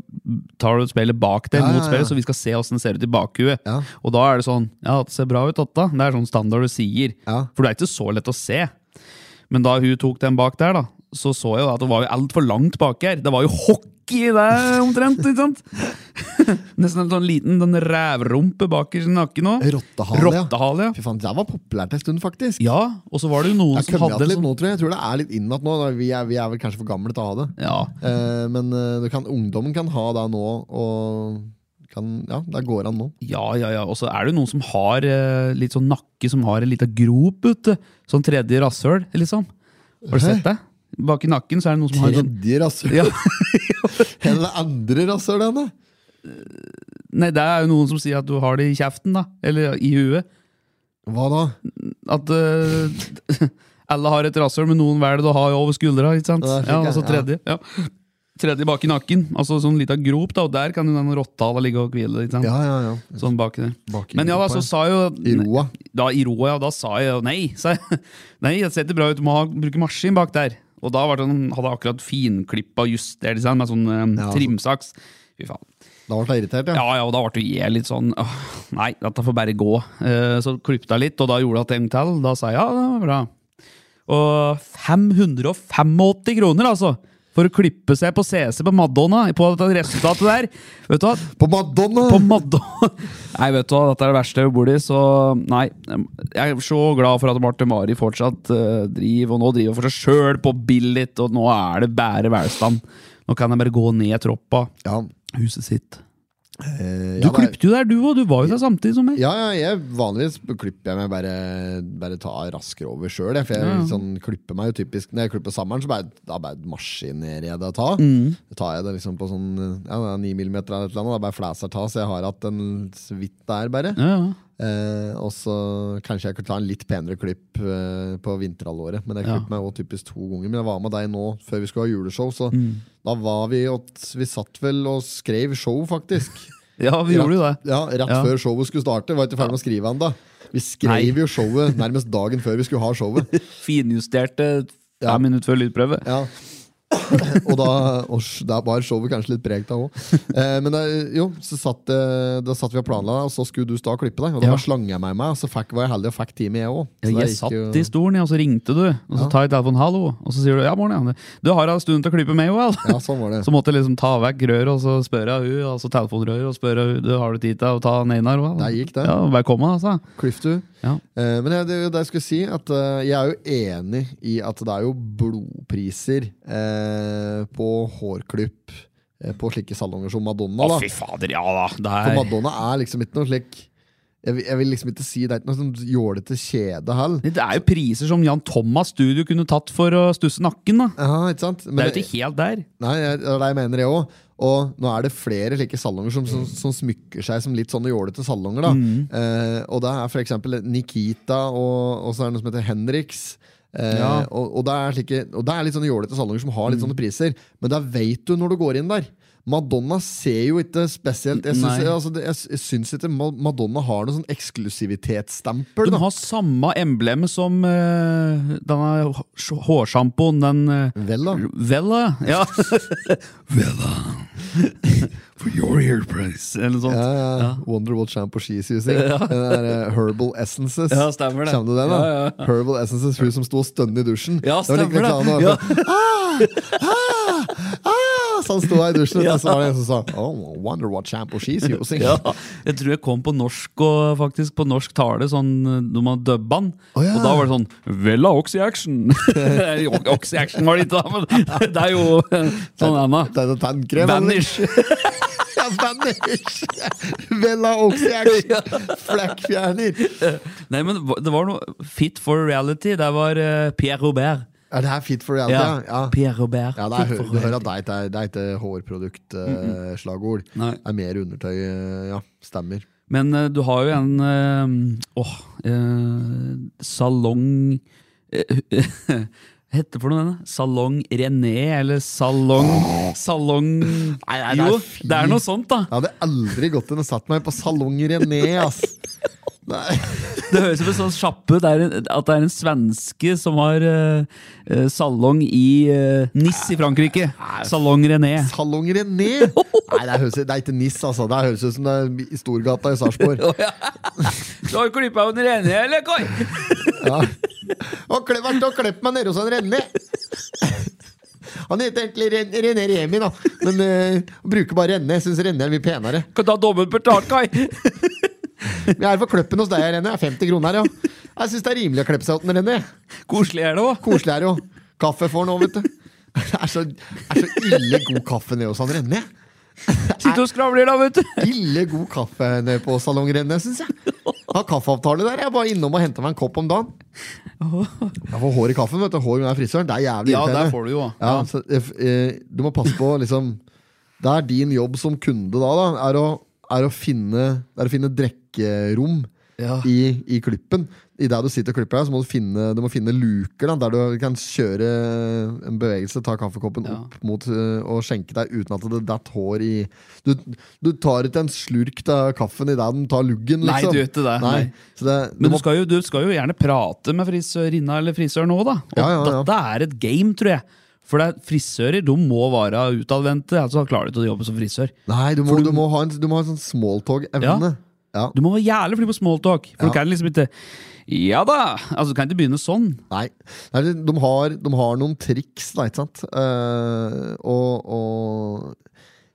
B: tar du speilet bak deg,
A: Ja, ja,
B: mot
A: ja.
B: speilet, så vi skal se åssen det ser ut i bakhuet.
A: Ja.
B: Og da er det sånn Ja, det ser bra ut, Atta. Det er sånn standard du sier.
A: Ja.
B: For det er ikke så lett å se. Men da hun tok den bak der, da, så så jeg jo at det var jo altfor langt bak her. Det var jo hockey i det, omtrent. ikke sant? *laughs* Nesten en sånn liten den rævrumpe bakerst i nakken nå.
A: Rottehale, ja.
B: Rottehale, ja.
A: Fy faen, det var populært en stund, faktisk.
B: Ja, og så var det jo noen
A: Jeg
B: som
A: har kommet
B: hadde
A: igjen
B: en
A: litt
B: sånn
A: nå, tror jeg. Jeg tror det er litt innat nå. da. Vi er, vi er vel kanskje for gamle til å ha det.
B: sånn- ja,
A: Eh, men eh, du kan, ungdommen kan ha det nå, og kan, ja, det går an nå.
B: ja, ja, ja. Og så er det jo noen som har eh, litt sånn nakke som har en liten grop ute. Sånn tredje rasshøl, liksom. Har du sett det? Bak i nakken så er det noen som har en sånn
A: Tredje rasshøl.
B: ja. *laughs*
A: *laughs* Eller andre rasshøl, enn det.
B: Nei, det er jo noen som sier at du har det i kjeften, da. Eller i huet.
A: Hva da?
B: At eh, *laughs* alle har et rasshøl, men noen velger det å ha over skuldra. ikke sant?
A: Ja, det er slik,
B: Ja, og så
A: ja.
B: tredje. Ja. Tredje bak i nakken. Altså sånn lita grop, da, og der kan jo den rottehalen ligge og hvile. ikke sant?
A: Ja, ja, ja.
B: Sånn bak der.
A: Bak i
B: Men ja, altså,
A: gropa,
B: da, så
A: ja.
B: sa jo
A: I roa.
B: da, I roa, ja, da sa jeg jo nei. Sa jeg, *laughs* nei, det ser ikke bra ut, du må ha, bruke maskin bak der. Og da var det sånn, hadde jeg akkurat finklippa justert seg med sånn eh,
A: Ja, altså.
B: trimsaks. Fy faen.
A: Da ble jeg irritert, ja.
B: Ja, ja, og da ble jeg litt sånn åh, Nei, dette får bare gå. Eh, så klippet jeg litt, og da gjorde jeg at en til. Da sa jeg ja, det var bra. Og 585 kroner, altså! For å klippe seg på CC på Madonna, på dette resultatet der. Vet du hva?
A: På Madonna!
B: På Madonna *laughs* Nei, vet du hva, dette er det verste jeg bor i, så nei. Jeg er så glad for at Marte Mari fortsatt eh, driver, og nå driver for seg sjøl på Billit, og nå er det bare velstand. Nå kan jeg bare gå ned troppa.
A: ja.
B: Huset sitt.
A: Eh, ja,
B: Du
A: det er-
B: klippte jo der, du òg. Du var jo der samtidig som meg.
A: Ja, ja, jeg, vanligvis klipper jeg meg bare, bare ta raskere over sjøl. For jeg
B: Ja.
A: sånn, klipper meg jo typisk Når jeg klipper sommeren, så bare, da bare maskinerer jeg det å ta.
B: Mm.
A: Da tar jeg det liksom på sånn ja, det er 9 millimeter eller et eller annet. Da bare flæser ta, så jeg har hatt en så vidt der, bare.
B: Ja, ja.
A: Eh, og så kanskje jeg kunne ta en litt penere klipp eh, på vinterhalvåret. Men jeg
B: Ja.
A: klipper meg også typisk to ganger. Men jeg var med deg nå før vi skulle ha juleshow, så
B: Mm.
A: da var vi og Vi satt vel og skrev show, faktisk.
B: ja vi gjorde jo det.
A: Ja, Rett
B: Ja.
A: før showet skulle starte. Var ikke ferdig med å skrive ennå. Vi skrev
B: Nei.
A: jo showet nærmest dagen før vi skulle ha showet.
B: *laughs* Finjusterte
A: Ja.
B: fem minutter før lydprøve.
A: Ja. og da og sj- da var showet kanskje litt pregt av òg. Eh, men da, jo, så satt, eh, da satt vi og planla, og så skulle du stå og klippe deg. Og da
B: Ja.
A: bare slang jeg meg med, og så fikk, var jeg heldig og fikk time, jeg òg.
B: Ja, jeg satt i stolen, ja, og så ringte du. Og så tar jeg telefonen, hallo, og så sier du ja, morgen, ja. Du har en stund til å klippe meg, Joel.
A: Ja, sånn var det.
B: Så måtte jeg liksom ta vekk røret, og så spørre hun, altså telefonrøret, og spørre hun, du har du tid til å ta den ene her? hva?»
A: Der gikk det.
B: Ja, velkommen, altså.
A: Kliff du.
B: Ja.
A: Eh, men jeg, det, er jo det jeg skulle si, at eh, jeg er jo enig i at det er jo blodpriser eh, på hårklipp eh, på slike salonger som Madonna.
B: Å,
A: da.
B: fy fader, ja da. Det
A: For
B: er...
A: Madonna er liksom ikke noe slik jeg, vil- jeg vil liksom ikke si det er ikke noe sånn jålete kjede heller.
B: Det er jo priser som Jan Thomas Studio kunne tatt for å stusse nakken, da.
A: Ja, ikke sant? Men
B: Det er jo ikke helt der.
A: Nei, jeg- det er det jeg mener jeg òg. Og nå er det flere slike salonger som,
B: Mm.
A: som, som smykker seg som litt sånne jålete salonger. da eh, Og det er for eksempel Nikita og, og så er det noe som heter Henriks. Eh,
B: Ja. Mm.
A: og, og, det er slike, og det er litt sånne jålete salonger som har litt sånne priser, men det vet du når du går inn der. Madonna ser jo ikke spesielt Jeg syns,
B: Nei.
A: altså, det- jeg, s- jeg syns ikke Ma- Madonna har noe sånn eksklusivitetsstempel.
B: De
A: da.
B: har samme embleme som eh, denne hå- hårsjampoen, den eh,
A: Vel, da.
B: Vella, ja. *laughs* Vella. For your ear price. Eller noe sånt.
A: Ja, ja. Wonder what shampoo she's
B: *laughs*
A: using. Den der, eh, herbal essences.
B: Ja, stemmer det.
A: Kjenner du den, da?
B: Ja, ja,
A: Herbal essences, hun som sto og stønner i dusjen.
B: Ja,
A: var like
B: stemmer det.
A: reklame,
B: Ja.
A: da. Ah, ah, ah, så han sto her i dusjen, og så var det en som sa oh, Wonder what shampoo she's *laughs* using.
B: Ja. Jeg tror jeg kom på norsk og faktisk på norsk tale sånn eh, når man dubba den.
A: Å, ja.
B: Og da var det sånn Vella Oxy Action! *laughs* Oxy Action var det ikke, da, men *laughs* det er jo eh, sånn Anna.
A: *laughs* Det er en tannkrem.
B: Vanish!
A: *laughs* Ja, Vanish. *laughs* Vella Oxy-action. Flekkfjerner.
B: Nei, men det var noe Fit for reality. Det var eh, Pierre Robert.
A: Er det her fit for reality? Ja. ja.
B: Pierre Robert.
A: Ja, det
B: Fit
A: er,
B: for
A: hø- du hører at det
B: reality.
A: er ikke- det er ikke hårproduktslagord.
B: Nei.
A: det er mer undertøy. eh, Ja, stemmer.
B: Men eh, du har jo en eh, Åh eh, Salong eh, *laughs* Hette for noe denne? Salong René, eller Salong Salong
A: nei, det er
B: Jo,
A: fint.
B: det er noe sånt, da.
A: Jeg hadde aldri gått inn og satt meg på Salong René, ass. Nei.
B: Det høres ut som en sånn sjappe ut, det er en- at det er en svenske som har eh, eh, salong i eh, Nice i Frankrike. Salong René.
A: Salong René! Nei, det, høres, det er ikke NIS, altså. Det høres ut som det er i Storgata i Sarpsborg.
B: Du har klippa under René, eller, Koi?
A: Ja. Og kle, vært og klept meg nede hos han René! Han heter egentlig Ren, René Remi, da. Men eh, bruker bare René. Syns René er mye penere.
B: Kan ta dobbelt betalt, Kai.
A: Jeg er for kløppen hos deg, René. Jeg er 50 kroner, ja. Jeg syns det er rimelig å kleppe seg åt den, René.
B: Koselig er det òg.
A: Koselig er det jo. Kaffe får han òg, vet du. Det er så, er så ille god kaffe nede hos han René.
B: Sitter og skravler, da, vet du.
A: Ille god kaffe nede på Salong René, syns jeg. Har kaffeavtale der. Jeg er bare innom og henter meg en kopp om dagen. Jeg får hår i kaffen, vet du. Hår under frisøren. Det er jævlig
B: Ja,
A: irriterende.
B: der får du jo.
A: Ja, så, if, eh, du må passe på, liksom Det er din jobb som kunde da, da er, å, er å finne Det er å finne drekkerom
B: Ja.
A: i, i klippen. I det du sitter og klipper deg, så må du finne, du må finne luker da, der du kan kjøre en bevegelse, ta kaffekoppen
B: Ja.
A: opp mot eh, og skjenke deg uten at det datt hår i Du, du tar ikke en slurk av kaffen i det den tar luggen,
B: Nei,
A: liksom.
B: du gjør ikke det,
A: Nei.
B: nei.
A: Så det, du
B: Men du
A: må,
B: skal, jo, du skal jo gjerne prate med frisørinna eller frisøren òg, da. Og
A: Ja, ja, ja.
B: dette er et game, tror jeg. For det er frisører de må være utadvendte, ellers altså klarer du ikke å jobbe som frisør.
A: nei, du må,
B: for
A: du,
B: du-
A: må ha en, du må ha en sånn smalltalk-evne.
B: Ja.
A: Ja.
B: Du må være jævlig flink på smalltalk. For
A: Ja.
B: du kan liksom ikke Ja da! Altså, du kan ikke begynne sånn.
A: Nei. Nei de, de, har, de har noen triks, da, ikke sant? Eh, og, og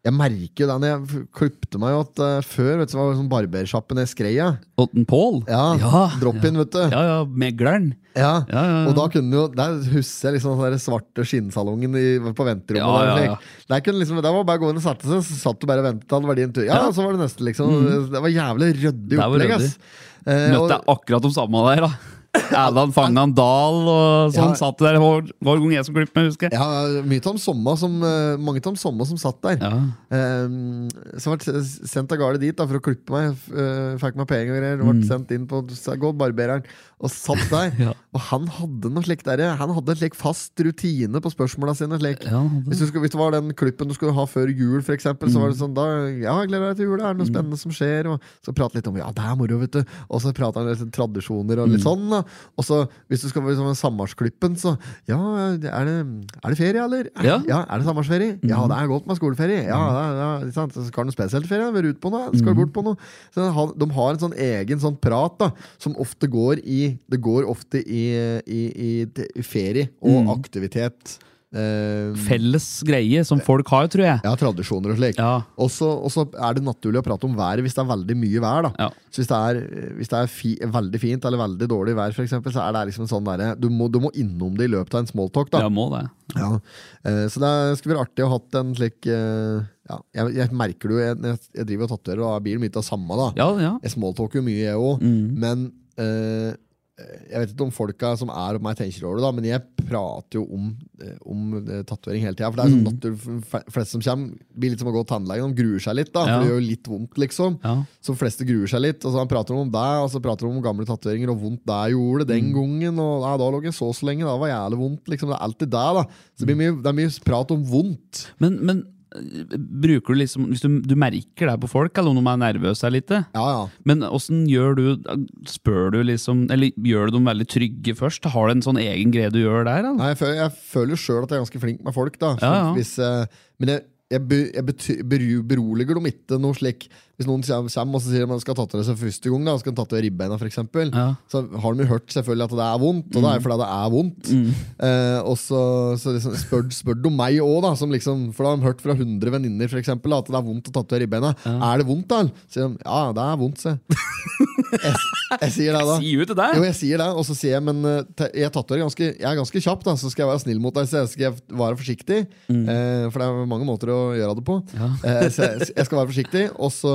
A: jeg merker jo det når jeg f- klipte meg jo at eh, før vet du, så var det sånn barbersjappe ned skreia.
B: Otten Paul?
A: Ja, Drop-in, vet du. Ja.
B: Ja, ja, megleren. Ja, ja, ja.
A: Og da kunne jo Der husker jeg liksom den der svarte skinnsalongen i, på venterommet.
B: Ja,
A: der,
B: ja,
A: slik.
B: ja.
A: Der, kunne liksom, der var det bare å gå inn og sette seg, så satt du bare og ventet. Hadde verdien tur. Ja,
B: Ja. Mm.
A: og så var det neste, liksom. Det var jævlig ryddig
B: Det var
A: opplegg, ass.
B: ryddig.
A: Eh, og-
B: Møtte jeg akkurat de samme der, da. Erland Fangan Dahl
A: Ja.
B: og sånn satt der hver, hver gang jeg som klippet meg, husker jeg.
A: Ja, mye Tom Somma som, eh, mange Tom Somma som satt der.
B: Ja.
A: Um, så ble jeg sendt av gårde dit da, for å klippe meg. f- eh, fikk meg penger og greier. Ble sendt inn på så jeg går barbereren og satt der.
B: Mm. *laughs* Ja.
A: Og han hadde noe slik der, han hadde en slik fast rutine på spørsmåla sine. Slik.
B: Ja, han hadde Mm.
A: hvis, du skulle, hvis det var den klippen du skulle ha før jul, for eksempel, så var det sånn da, Ja, jeg gleder meg til jul, er det noe spennende som skjer? Og så prate litt om Ja, det er moro, vet du. Og så prater han litt om tradisjoner
B: Mm.
A: og litt sånn. Da. Og så hvis du skal være liksom, sammarsklippen, så Ja, er det, er det ferie, eller?
B: Ja.
A: ja er det sammarsferie? Ja,
B: Mhm.
A: det er godt med skoleferie. Ja, det er, ja, ikke sant? Så Skal du noe spesielt ferie? Være ute på noe? Skal du
B: Mhm.
A: bort på noe? Så han- de har en sånn egen sånn prat da, som ofte går i Det går ofte i, i, i, i ferie og
B: Mhm.
A: aktivitet. Eh,
B: Felles greie som folk har, tror jeg.
A: ja, tradisjoner og slik.
B: Ja.
A: Og så og så er det naturlig å prate om været hvis det er veldig mye vær. da.
B: Ja.
A: Så Hvis det er, hvis det er fi, veldig fint eller veldig dårlig vær, for eksempel, så er det liksom en sånn derre du, må- du må innom det i løpet av en smalltalk. da.
B: Jeg må det.
A: Ja. Eh, så det er- skulle vært artig å ha hatt en slik eh, ja, jeg, jeg merker det jo, jeg, jeg, jeg driver og tatoverer, og da blir det mye av det samme. da.
B: Ja, Mm. ja.
A: Jeg smalltalker jo mye, jeg òg, men eh, jeg vet ikke om folka som er opp meg, tenker over det, da, men jeg prater jo om, eh, om eh, tatovering hele tida. For det er
B: Mm.
A: sånn natur, f- flest som kommer, blir litt som å gå til tannlegen. De gruer seg litt, da,
B: Ja.
A: for det gjør jo litt vondt, liksom.
B: Ja.
A: Så fleste gruer seg litt. Og så han prater om det, og så prater han om gamle tatoveringer og vondt det gjorde den
B: Mm.
A: gangen. Og nei, da lå jeg så så lenge, da var jævlig vondt. Liksom. Det er alltid det, da. Så det, blir mye, det er mye prat om vondt.
B: Men, men øh, bruker du liksom Hvis du, du merker det på folk, eller om de er nervøse her litt,
A: Ja, ja.
B: men åssen gjør du Spør du liksom Eller gjør du dem veldig trygge først? Har du en sånn egen greie du gjør der? Eller?
A: Nei, jeg føler, jeg føler jo sjøl at jeg er ganske flink med folk, da.
B: Ja, ja.
A: Hvis, eh, men jeg, jeg, be, jeg bety, beru, beroliger dem ikke noe slik. Hvis noen kommer og så sier at man skal tatovere seg første gang, da, og skal tatovere ribbeina f.eks., eksempel
B: Ja.
A: så har de jo hørt selvfølgelig at det er vondt, og det er jo fordi det er vondt. Eh, og så, så liksom, spør, spør de meg òg, da, som liksom, for da har de hørt fra 100 venninner for eksempel, da, at det er vondt å tatovere ribbeina. Er det vondt, da? Så sier de ja, det er vondt, se. jeg, jeg sier det, da.
B: Si ut til deg!
A: Jo, jeg sier det, og så sier jeg men eh, te- jeg, tatoverer ganske, jeg er ganske kjapp, da, så skal jeg være snill mot deg. Så jeg skal jeg være forsiktig,
B: Mm.
A: eh, for det er mange måter å gjøre det på. Eh, så jeg, jeg skal være forsiktig, og så,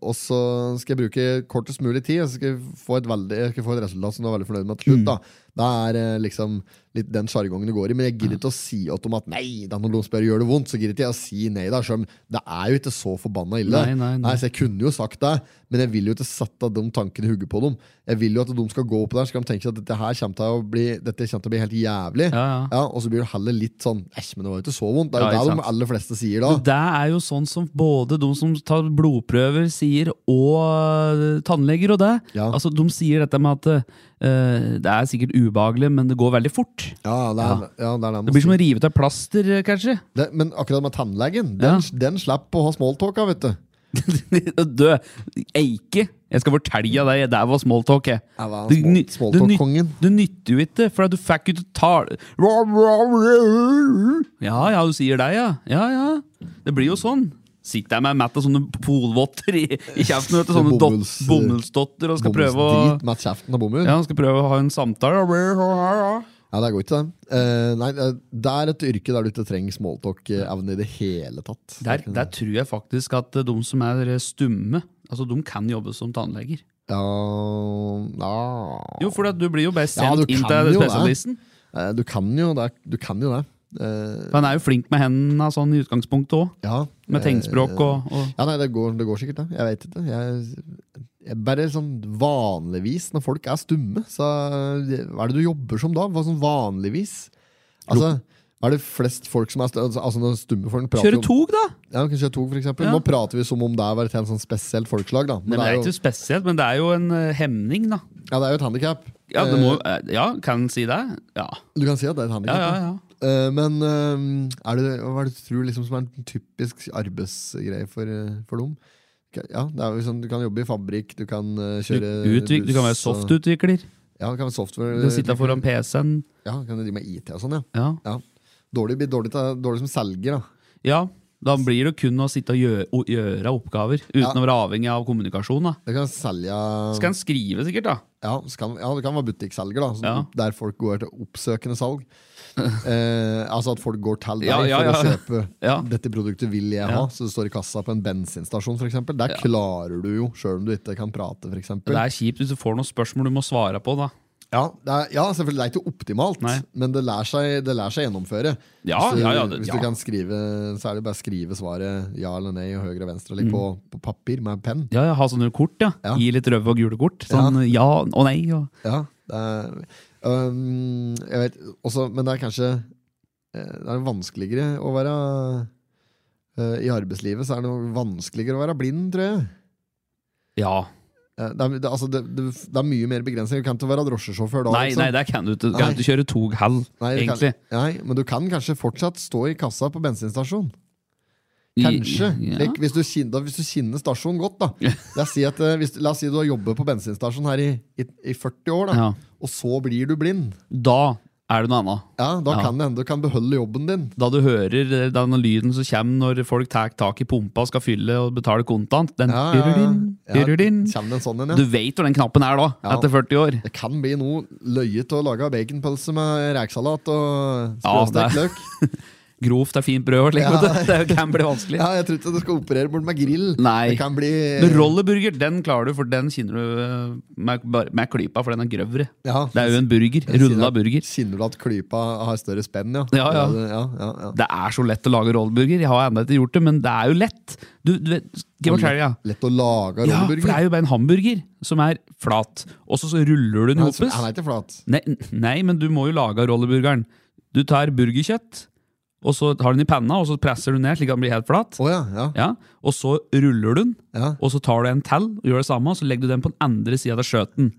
A: og så
B: Mm.
A: skal jeg bruke kortest mulig tid. Og så skal jeg få et, veldig, jeg skal få et resultat som du er veldig fornøyd med til slutt. Da. Det er eh, liksom litt den sjargongen du går i. Men jeg gidder ikke å si åt dem at nei, da når noen spør gjør det vondt, så gidder ikke jeg å si nei. da selv om Det er jo ikke så forbanna ille.
B: Nei, nei, nei.
A: så Altså, Jeg kunne jo sagt det, men jeg vil jo ikke sette de tankene i hodet på dem. Jeg vil jo at de skal gå opp der Så skal de tenke seg at dette her kommer til å bli, dette kommer til å bli helt jævlig.
B: Ja, ja.
A: Og så blir det heller litt sånn Æsj, men det var jo ikke så vondt. Det er jo
B: Ja, ikke
A: det
B: sant.
A: de aller fleste sier da.
B: Det er jo sånn som både de som tar blodprøver sier, og eh, tannleger og det.
A: Ja.
B: Altså, de sier dette med at eh, det er sikkert ubehagelig, men det går veldig fort.
A: Ja, det er, ja. det, er
B: Det blir som å rive ut et plaster, eh, kanskje.
A: det, men akkurat med tannlegen, den, den slipper å ha smalltalka, vet du.
B: *laughs* Dø. Eike. Jeg skal fortelle deg, det var smalltalk, jeg.
A: Ja, hva er
B: Det
A: small-
B: ny- det ny-
A: smalltalk-kongen?
B: Det nytter jo ikke, for at du fikk jo ikke tale Ja, ja, du sier det, ja. Ja, ja. Det blir jo sånn. Sitter jeg med Matt og sånne polvotter i, i kjeften, vet du, sånne dot,
A: Bomulls-
B: bomullsdotter, og skal prøve å
A: Bomullsdrit med kjeften og bomull.
B: ja, han skal prøve å ha en samtale.
A: Ja, det går ikke, det. Eh, nei, eh, det er et yrke der du ikke trenger smalltalk-evne i det hele tatt.
B: Der, der tror jeg faktisk at de som er stumme, altså de kan jobbe som tannleger.
A: Ja, ja.
B: Jo, for at du blir jo bare
A: Ja,
B: sendt
A: du
B: inn
A: kan
B: til
A: jo det.
B: spesialisten.
A: Eh, Du kan jo det. Du kan jo det. Eh,
B: For han er jo flink med hendene sånn i utgangspunktet òg.
A: ja. eh,
B: Med tegnspråk og, og
A: Ja, nei, det går, det går sikkert, det. Jeg vet ikke. Jeg, jeg bare sånn vanligvis, når folk er stumme, så hva er det du jobber som da? Hva sånn vanligvis? Altså, hva er det flest folk som er stumme? Altså, når stumme folk prater
B: Kjøre
A: om
B: tog, da!
A: Ja, kan kjøre tog, for eksempel.
B: Ja.
A: Nå prater vi som om det var et helt sånn spesielt folkeslag, da. Men
B: Nei, men
A: det, er
B: ikke
A: jo,
B: noe spesielt, men det er jo en eh, hemning, da.
A: ja, det er jo et handikap.
B: Ja, det må, eh, ja kan en si det? Ja.
A: Du kan si at det er et handikap.
B: Ja, ja, ja.
A: Eh, men eh, er det, hva er det du tror liksom, som er en typisk arbeidsgreie for, eh, for dem? Ka- Ja, det er jo sånn, Du kan jobbe i fabrikk, du kan eh,
B: Du,
A: kjøre
B: utvik, du kan være
A: buss, og-
B: softutvikler.
A: Ja, du kan være software.
B: Du kan sitte foran PC-en.
A: Ja, du kan drive med IT og sånn, ja.
B: Ja.
A: ja. Dårlig, blir dårlig, til- dårlig som selger, da.
B: ja. Da blir det kun å sitte og gjøre, å gjøre oppgaver, uten
A: Ja.
B: å være avhengig av kommunikasjon. da
A: Du kan selge
B: Så kan en skrive, sikkert. da
A: Ja, så kan, ja, det kan være butikkselger, da. så
B: Ja.
A: Der folk går til oppsøkende
B: *laughs*
A: salg. Eh, altså at folk går til deg
B: Ja, ja,
A: for
B: ja.
A: å kjøpe
B: *laughs* Ja.
A: 'dette produktet vil jeg ha', så det står i kassa på en bensinstasjon f.eks. Der klarer du jo, sjøl om du ikke kan prate, f.eks.
B: Det er kjipt hvis du får noen spørsmål du må svare på. da
A: Ja, det er, ja, selvfølgelig det er ikke optimalt,
B: Nei.
A: men det lærer seg, det lærer seg gjennomføre.
B: Ja,
A: hvis du,
B: ja, ja, det-
A: hvis
B: ja.
A: du kan skrive, så er det bare å skrive svaret ja eller nei og høyre og venstre
B: Mm.
A: eller på, på papir med penn.
B: Ja, ja, Ha sånne kort, ja.
A: Ja.
B: Gi litt røde og gule kort. Sånn ja, og nei. Og
A: Ja, det er, øhm, jeg vet også, Men det er kanskje eh, Det er vanskeligere å være eh, I arbeidslivet så er det noe vanskeligere å være blind, tror jeg.
B: ja.
A: Eh, Det er, det, altså, det, det, det er mye mer begrensninger. Du kan ikke være drosjesjåfør da.
B: Nei,
A: liksom.
B: nei, der kan du ikke. Du
A: Nei.
B: Kan ikke kjøre tog heller,
A: Nei, du
B: egentlig.
A: Kan, nei, men du kan kanskje fortsatt stå i kassa på bensinstasjon. Kanskje.
B: I- Ja.
A: Like, hvis, du kjenner, da- hvis du kjenner stasjonen godt, da. La oss si, at, eh, hvis, la oss si du har jobbet på bensinstasjon her i, i, i 40 år, da.
B: Ja.
A: og så blir du blind.
B: Da er det noe annet.
A: Ja, Da
B: Ja.
A: kan det hende du kan beholde jobben din.
B: Da du hører eh, den lyden som kommer når folk tar tak i pumpa og skal fylle og betale kontant Den
A: Ja, ja, ja.
B: dirudin,
A: Ja,
B: dirudin.
A: Kjenner en sånn en,
B: Du
A: ja.
B: vet hvor den knappen er da,
A: Ja.
B: etter 40 år.
A: Det kan bli noe løyet å lage baconpølse med rekesalat og
B: Ja,
A: sprøstekt
B: det-
A: løk.
B: Grovt er fint brød og slik. vet du. *laughs* Det kan bli vanskelig.
A: Ja, jeg tror ikke du skal operere bort med grill.
B: Nei.
A: Det kan bli
B: Men Rolleburger den klarer du, for den kjenner du eh, med, bare- med klypa, for den er grøvere.
A: Ja.
B: Det er jo en burger.
A: Jeg sier
B: Rulla
A: at-
B: burger.
A: Kjenner du at klypa har større spenn, ja?
B: Ja, ja.
A: det- ja, ja, ja.
B: Det er så lett å lage rolleburger. Jeg har ennå ikke gjort det, men det er jo lett. Du, du vet, skal jeg fortelle, ja.
A: Lett å lage
B: Ja, for
A: rolleburger.
B: det er jo bare en hamburger som er flat, og så, så ruller du den i
A: Han er-
B: hopes.
A: Han er ikke flat.
B: Nei, nei, men du må jo lage rolleburgeren. Du tar burgerkjøtt, og så tar den i panna, og så presser du ned slik at den blir helt flat.
A: Å ja, ja.
B: Ja, og så ruller du den,
A: Ja.
B: og så tar du en til og gjør det samme, og så legger du den på den andre sida av skjøten.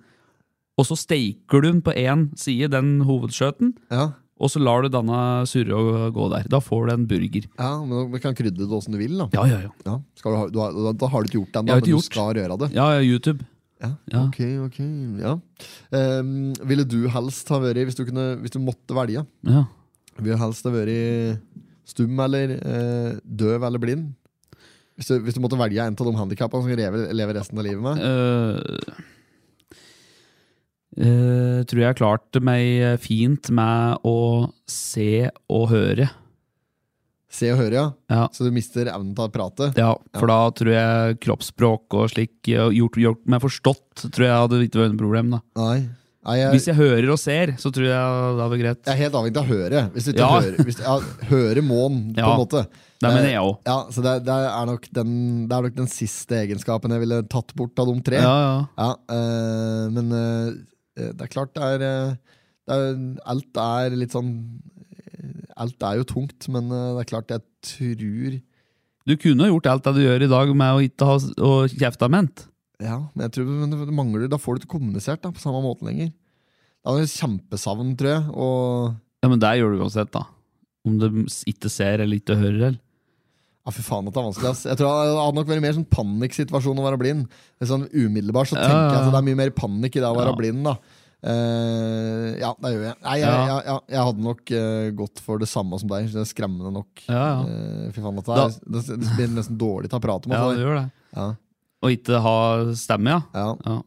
B: Og så steiker du den på én side, den hovedskjøten,
A: ja.
B: og så lar du denne surre å gå der. Da får du en burger.
A: ja men du kan krydre det åssen du vil, da.
B: Ja, ja, ja.
A: Ja. Skal du ha, du har, da, da har du ikke gjort den,
B: Jeg
A: da, men
B: har ikke
A: du
B: gjort.
A: skal gjøre det.
B: Ja, ja, YouTube.
A: Ja.
B: Ja.
A: Ok, ok. Ja. Ehm, ville du helst ha vært, hvis du, kunne, hvis du måtte velge,
B: Ja.
A: ville du helst ha vært stum eller eh, døv eller blind? Hvis du, hvis du måtte velge en av de handikappene som du lever, lever resten av livet med?
B: Eh, eh, tror jeg klarte meg fint med å se og høre.
A: Se og høre, ja.
B: Ja.
A: Så du mister evnen til å prate?
B: Ja, for da tror jeg kroppsspråk og slik og gjort, gjort meg forstått, tror jeg hadde ikke vært noe problem. da
A: Nei. Nei, jeg,
B: Hvis jeg hører og ser, så tror jeg det er greit.
A: jeg er helt avhengig av høret. Hvis du ikke
B: Ja.
A: hører, hvis, ja, hører månen, på
B: Ja.
A: en måte.
B: Det
A: Eh,
B: mener jeg òg.
A: Ja, så det, det, er nok den, det er nok den siste egenskapen jeg ville tatt bort av de tre.
B: Ja, ja.
A: Ja, eh, men eh, det er klart det er, eh, det er Alt er litt sånn eh, Alt er jo tungt, men eh, det er klart jeg tror
B: Du kunne gjort alt det du gjør i dag med å ikke ha s- å kjefte ment.
A: Ja, men jeg tror men det mangler Da får du ikke kommunisert da, på samme måte lenger. Det er jo kjempesavn, tror jeg. Og
B: Ja, men det gjør du uansett, da. Om du s- ikke ser eller ikke hører. Eller.
A: ja, fy faen at det er vanskelig. Ass. Jeg tror Det hadde nok vært mer sånn panikksituasjon å være blind. Det er Sånn Umiddelbart så
B: Ja,
A: tenker jeg
B: ja, ja.
A: at det er mye mer panikk i det å være
B: Ja.
A: blind. da Eh, ja, det gjør jeg. Nei, jeg,
B: Ja.
A: jeg, jeg, jeg hadde nok eh, gått for det samme som deg. Det er skremmende nok.
B: Ja, ja.
A: Eh, Fy faen, dette er, det, det blir nesten dårlig til å prate om.
B: ja,
A: altså.
B: du gjør det.
A: Ja,
B: Og ikke ha stemme, ja.
A: ja,
B: ja.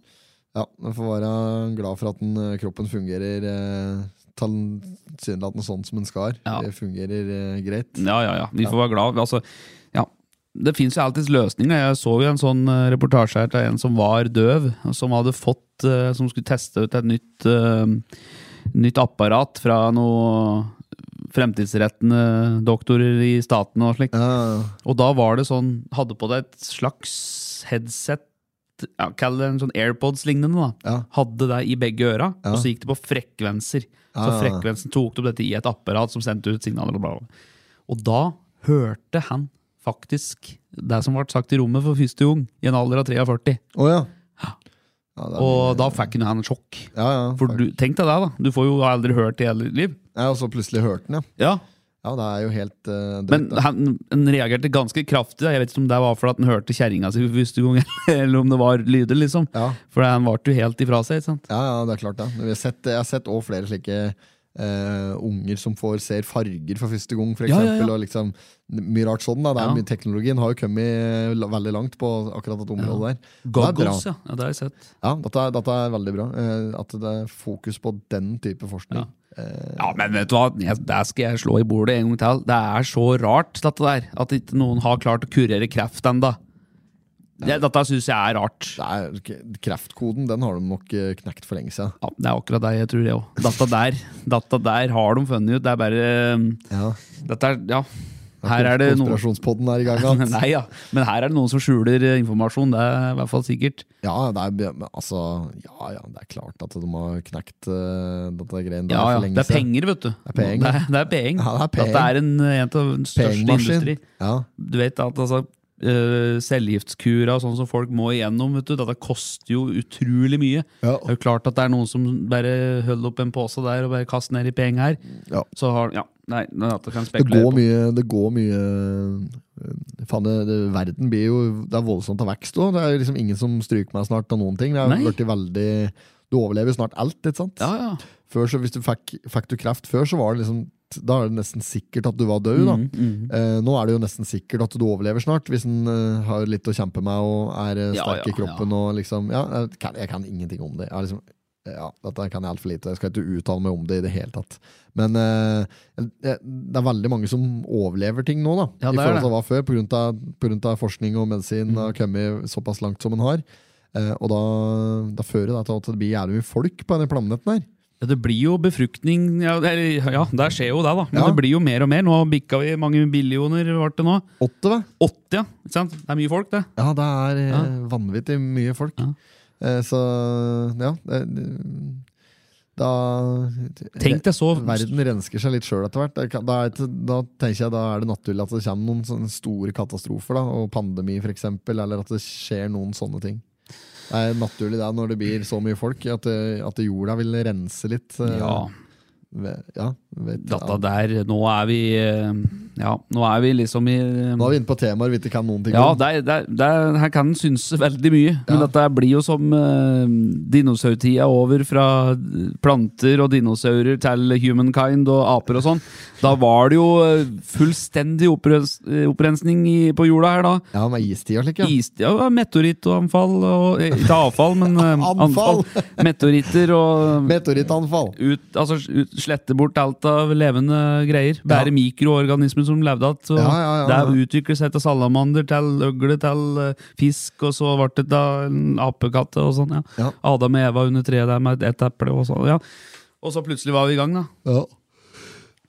A: ja. Man får være glad for at den, eh, kroppen fungerer eh, tilsynelatende sånn som den skal.
B: Ja.
A: Det fungerer eh, greit.
B: Ja, ja, ja. Vi får være glad. Altså, ja. Det fins jo alltids løsninger. Jeg så jo en sånn eh, reportasje her til en som var døv, og som hadde fått eh, Som skulle teste ut et nytt eh, Nytt apparat fra noen fremtidsrettende doktorer i staten og slikt.
A: Ja,
B: Og da var det sånn Hadde på deg et slags headset, ja, kall det en sånn AirPods-lignende, da.
A: ja,
B: Hadde det i begge øra,
A: Ja.
B: og så gikk det på frekvenser. Så
A: Ja, ja, ja.
B: frekvensen tok opp dette i et apparat som sendte ut signaler. Og, bla, bla, bla. og da hørte han faktisk det som ble sagt i rommet for første gang, i en alder av 43.
A: Å, ja. Ja, det er mye-
B: Og da fikk han en sjokk.
A: ja, ja,
B: For
A: fuck.
B: du, tenk deg det, da. Du får jo aldri hørt det i hele ditt liv.
A: ja, Og så plutselig hørte den, ja.
B: Ja,
A: Ja, det er jo helt eh, drøyt.
B: Men
A: da.
B: han, han reagerte ganske kraftig. da. Jeg vet ikke om det var fordi han hørte kjerringa si for første gang, *laughs* eller om det var lyder, liksom.
A: Ja,
B: For han varte jo helt ifra seg. ikke sant?
A: ja, ja, det er klart, det. Men vi har sett- Jeg har sett òg flere slike eh, unger som får ser farger for første gang, for
B: Ja, ja,
A: eksempel.
B: ja.
A: Og liksom, mye rart sånn. da det er
B: Ja.
A: mye, Teknologien har jo kommet eh, la- veldig langt på akkurat dette området der. det er bra.
B: Goggles, ja. ja. Det har jeg sett.
A: Ja, dette, er- dette er veldig bra. eh, at det er fokus på den type forskning.
B: Ja, men vet du hva, jeg, der skal jeg slå i bordet en gang til. Det er så rart, dette der. At ikke noen har klart å kurere kreft ennå. Det, dette syns jeg er rart.
A: Det er, k- kreftkoden den har de nok eh, knekt for lenge siden.
B: Ja, det er akkurat det jeg tror, jeg òg. Dette der dette der har de funnet ut. Det er bare um,
A: Ja.
B: Dette er Ja. Her er det noen
A: Konspirasjonspodden er i gang. igjen.
B: *laughs* Nei, ja. Men her er det noen som skjuler eh, informasjon. Det er i hvert fall sikkert.
A: Ja, det er, men altså, ja, ja, det er klart at de har knekt uh, dette greien der
B: Ja, ja.
A: for lenge
B: Det er penger, vet du.
A: er penger.
B: Det er, det er penger.
A: Ja, det er penger.
B: Dette er en, en av den største
A: Pengemaskin.
B: industri.
A: Ja,
B: Du vet at altså, eh, cellegiftskura og sånn som folk må igjennom, vet du, dette koster jo utrolig mye.
A: Ja.
B: Det er jo klart at det er noen som bare holder opp en pose der og bare kaster ned i penger her.
A: Ja.
B: Så har, ja, nei, nei, dette kan jeg
A: det
B: spekulere
A: går
B: på.
A: mye, det går mye eh, Faen, det, det, verden blir jo Det er voldsomt av vekst òg. Det er jo liksom ingen som stryker meg snart av noen ting. Det er
B: Nei.
A: blitt veldig Du overlever jo snart alt, ikke sant?
B: Ja, ja.
A: Før så, hvis du fikk, fikk du kreft før, så var det liksom Da er det nesten sikkert at du var død, da.
B: Mm, mm.
A: Eh, nå er det jo nesten sikkert at du overlever snart, hvis en eh, har litt å kjempe med og er eh,
B: Ja,
A: sterk
B: ja,
A: i kroppen. Og liksom, ja, jeg, kan, jeg kan ingenting om det. Jeg, har liksom, ja, dette kan jeg altfor lite. Jeg skal ikke uttale meg om det i det hele tatt. Men eh, jeg- det er veldig mange som overlever ting nå, da.
B: Ja,
A: I
B: det er
A: forhold
B: det. Mm.
A: til hva før, på grunn av- på grunn av forskning og medisin har kommet såpass langt som en har. Eh, og da, da fører det til at det blir jævlig mye folk på denne planeten her.
B: Ja, det blir jo befruktning Ja, eller, ja der skjer jo det, da. Men
A: Ja.
B: det blir jo mer og mer. Nå bikka vi mange billioner, ble det nå.
A: Åtte, hva?
B: 80, ja. Ikke sant? Det er mye folk, det.
A: Ja, det er eh,
B: Ja.
A: vanvittig mye folk.
B: Ja.
A: Eh, så ja det, det- Da
B: Tenk deg så
A: Verden rensker seg litt sjøl etter hvert. Det kan- Da, er det- da tenker jeg da er det naturlig at det kommer noen sånne store katastrofer, da, og pandemi f.eks., eller at det skjer noen sånne ting. Det er naturlig det når det blir så mye folk, at, det, at jorda vil rense litt. eh,
B: Ja.
A: Ved, ja, vet,
B: Dette
A: ja.
B: der Nå er vi eh, Ja, nå er vi liksom i eh,
A: Nå er vi inne på temaer vi ikke kan noen ting
B: Ja,
A: om.
B: det, er- det, er- det, er- her kan en synse veldig mye. Men
A: Ja.
B: dette blir jo som uh, dinosaurtida over fra planter og dinosaurer til humankind og aper og sånn. Da var det jo eh, fullstendig opprens, eh, opprensning i, på jorda her, da.
A: Ja, med istid og slik, ja.
B: Is, ja, meteorittanfall og eh, Ikke avfall, men
A: *laughs*
B: eh,
A: Anfall.
B: anfall. Meteoritter og
A: Meteorittanfall.
B: ut, altså, ut, slette bort alt av levende greier. Bare
A: Ja.
B: mikroorganismer som levde igjen. så
A: Ja, ja, ja,
B: Det
A: ja.
B: utviklet seg til salamander, til øgle, til eh, fisk, og så ble det da en apekatt og sånn. Ja.
A: Ja.
B: Adam og Eva under treet der med et eple og sånn. Ja. Og så plutselig var vi i gang, da.
A: Ja.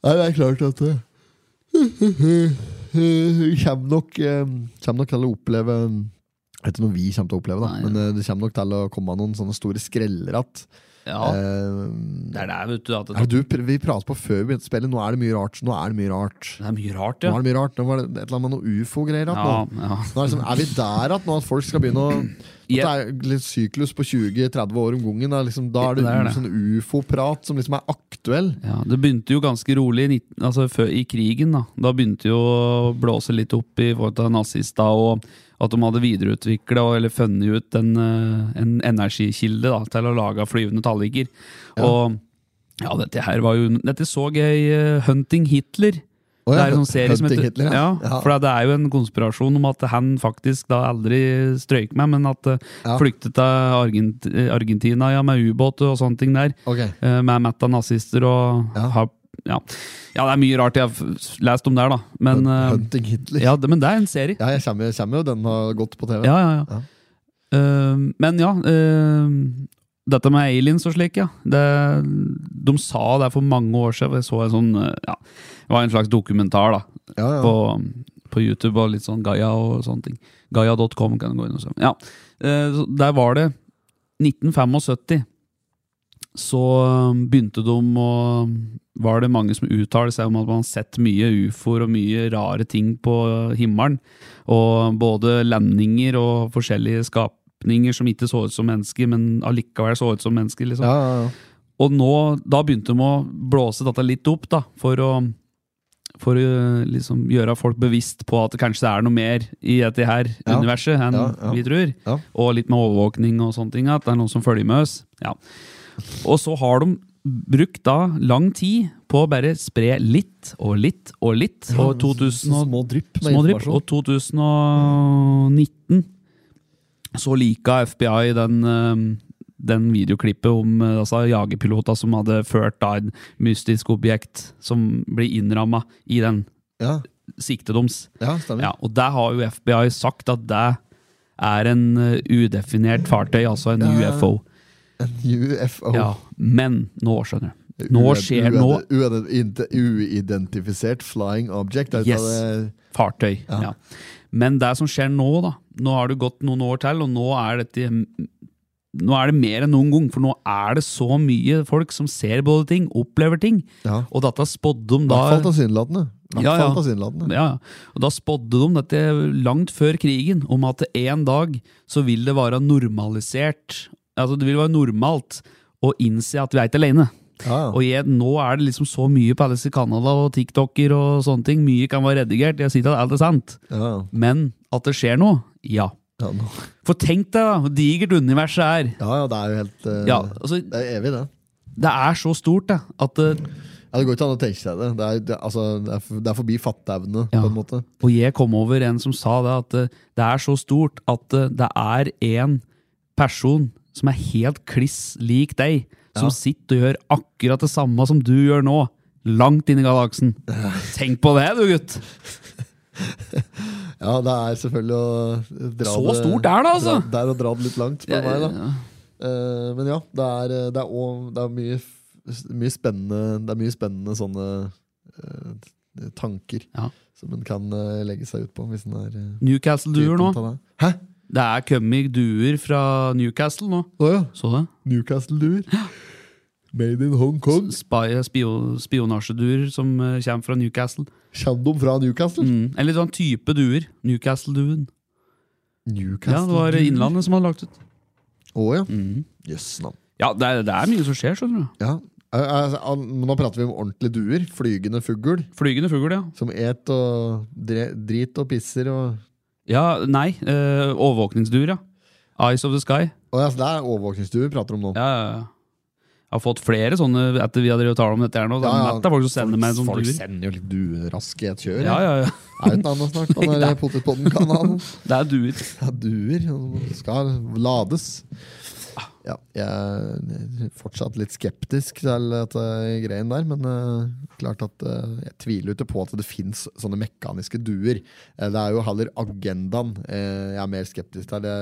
A: Nei, det er klart at eh, *laughs* Hun kommer nok, eh, kommer nok til å oppleve Jeg vet ikke om vi kommer til å oppleve, da,
B: Nei.
A: men eh, det kommer nok til å komme noen sånne store skreller att.
B: Ja,
A: Eh,
B: det er det, vet du. At
A: ja,
B: det,
A: du, pr- vi pratet på før vi begynte å spille. Nå er det mye rart. Nå er det mye rart.
B: det er mye rart,
A: Nå
B: ja.
A: er det mye rart. Nå var det et eller annet med noe ufo-greier. att
B: Ja,
A: nå.
B: ja.
A: Nå er, det liksom, er vi der at, nå at folk skal begynne å
B: *clears throat*
A: at Det er litt syklus på 20-30 år om gangen. Da, liksom, da er det,
B: Det er det.
A: sånn ufo-prat som liksom er aktuell.
B: Ja, Det begynte jo ganske rolig i, 19, altså før, i krigen. Da Da begynte jo å blåse litt opp i forhold til nazister, og at de hadde videreutvikla eller funnet ut en, eh, en energikilde da, til å lage flyvende talliker. Og ja, dette her var jo Dette så jeg i eh, Hunting Hitler.
A: Å
B: Det
A: ja,
B: er en sånn serie som
A: Hunting
B: heter
A: Hitler, ja.
B: ja.
A: Ja.
B: For det er jo en konspirasjon om at han faktisk da aldri strøyk meg, men at uh,
A: Ja.
B: flyktet til Argent Argentina ja, med ubåt og sånne ting der.
A: Ok.
B: Eh, med mett av nazister og
A: Ja.
B: har, ja. ja, det er mye rart jeg har f- lest om der, da. Men, eh,
A: Hunting Hitler. Ja,
B: ja, det, men det er en serie.
A: jeg kommer, jeg kommer jo. Den har gått på TV.
B: Ja, ja, ja.
A: Ja.
B: Eh, men ja eh, Dette med aliens og slik, ja. Det, de sa det for mange år siden. Jeg så en sånn eh, ja, Det var en slags dokumentar da
A: Ja, ja.
B: på, på YouTube og litt sånn Gaia og sånne ting. Gaia.com kan du gå inn og se. Ja. Eh, så Der var det 1975. Så eh, begynte de å Var det mange som uttalte seg om at man har sett mye ufoer og mye rare ting på himmelen. Og både landinger og forskjellige skapninger som ikke så ut som mennesker, men allikevel så ut som mennesker. liksom.
A: Ja, ja, ja.
B: Og nå, da begynte de å blåse dette litt opp, da, for å, for å liksom gjøre folk bevisst på at det kanskje er noe mer i dette her
A: Ja.
B: universet enn
A: Ja, ja.
B: vi tror.
A: Ja.
B: Og litt med overvåkning og sånne ting, at det er noen som følger med oss. Ja. Og så har de brukt da lang tid på å bare spre litt og litt og litt. Og 2000 og
A: Små drypp med
B: Små drypp.
A: informasjon.
B: Og 2019 så lika FBI den, eh, den videoklippet om eh, altså, jagerpiloter som hadde ført da, et mystisk objekt som blir innramma i den
A: Ja,
B: siktedoms.
A: ja, stemmer.
B: Ja, og der har jo FBI sagt at det er en eh, udefinert fartøy, altså en
A: Ja, Oh. ja, ja.
B: UFO.
A: UFO.
B: Ja, men nå skjønner du. Nå
A: Ued-
B: skjer
A: ued-
B: nå
A: ued- inte- Uidentifisert flying object. Er det
B: Yes.
A: det-
B: fartøy.
A: Ja.
B: Ja. Men det som skjer nå, da Nå har det gått noen år til, og nå er dette nå er det mer enn noen gang, for nå er det så mye folk som ser både ting, opplever ting.
A: Ja.
B: Og dette spådde de
A: I
B: da
A: hvert fall tilsynelatende. I hvert
B: Ja,
A: fall
B: ja.
A: tilsynelatende.
B: ja, ja. og da spådde de dette langt før krigen, om at en dag så vil det være normalisert Altså det vil være normalt å innse at vi er ikke alene.
A: Ja, ja.
B: Og jeg, nå er det liksom så mye på alle disse kanaler og TikToker og sånne ting. Mye kan være redigert. Jeg sier ikke at alt er sant.
A: Ja, ja.
B: Men at det skjer noe, ja.
A: Ja, nå-
B: For tenk deg da, hvor digert universet er.
A: ja, ja, det er jo helt eh,
B: Ja, altså,
A: Det er evig, det.
B: det er så stort, det. At, eh,
A: Ja, det går ikke an å tenke seg det. Det er, det, altså, det er, f- det er forbi fatteevne,
B: Ja.
A: på en måte.
B: og jeg kom over en som sa det, at eh, det er så stort at eh, det er en person som er helt kliss lik deg, som
A: Ja.
B: sitter og gjør akkurat det samme som du gjør nå, langt inn i
A: *laughs*
B: galaksen. Tenk på det, du gutt!
A: Ja, det er selvfølgelig å eh, dra
B: Så stort er det, altså!
A: Dra, det er å dra det litt langt, spør du meg. da Eh, Men ja, det er, eh, det er, også, det er mye, f- mye spennende Det er mye spennende sånne eh, tanker
B: Ja.
A: som en kan eh, legge seg ut på hvis en er eh,
B: Newcastle-duer nå.
A: dypt opptatt av det. Hæ?
B: Det er kommet duer fra Newcastle nå.
A: Å ja.
B: Så det?
A: Newcastle-duer. Made in Hongkong.
B: Spy- spio- Spionasjeduer som eh, kommer fra Newcastle.
A: Kommer de fra Newcastle?
B: Mm. Eller sånn type duer. Newcastle-duen.
A: Newcastle
B: Ja, det var Mm. Innlandet som hadde lagt ut.
A: Å ja. Jøss, navn.
B: Ja, det er, det er mye som skjer, skjønner du.
A: Ja. Eh, eh, al- men Nå prater vi om ordentlige duer. Flygende fugl.
B: Flygende fugl, ja.
A: Som et og dre, drit og pisser og
B: Ja, Nei, eh, overvåkningsduer, ja. Eyes of the Sky.
A: Å ja, så det er overvåkningsduer vi prater om nå.
B: Ja, ja, ja. Jeg har fått flere sånne etter vi har drevet og talt om dette her nå. Det er
A: Ja, ja.
B: mett av folk som sender meg en sånn
A: Folk
B: duer.
A: sender jo litt dueraske i et kjør.
B: Ja, ja, ja.
A: Det er jo et annet snart
B: *laughs*
A: på den der Potetpodden-kanalen.
B: Det er duer.
A: Ja, duer. Skal lades. Ja, jeg er fortsatt litt skeptisk til dette greien der, men eh, klart at eh, jeg tviler jo ikke på at det fins sånne mekaniske duer. Eh, det er jo heller agendaen eh, jeg er mer skeptisk til. Det,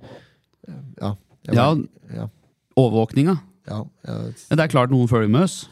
A: eh, ja, jeg,
B: Ja.
A: ja,
B: Overvåkninga.
A: ja, jeg,
B: Men Det er klart noen følger med oss.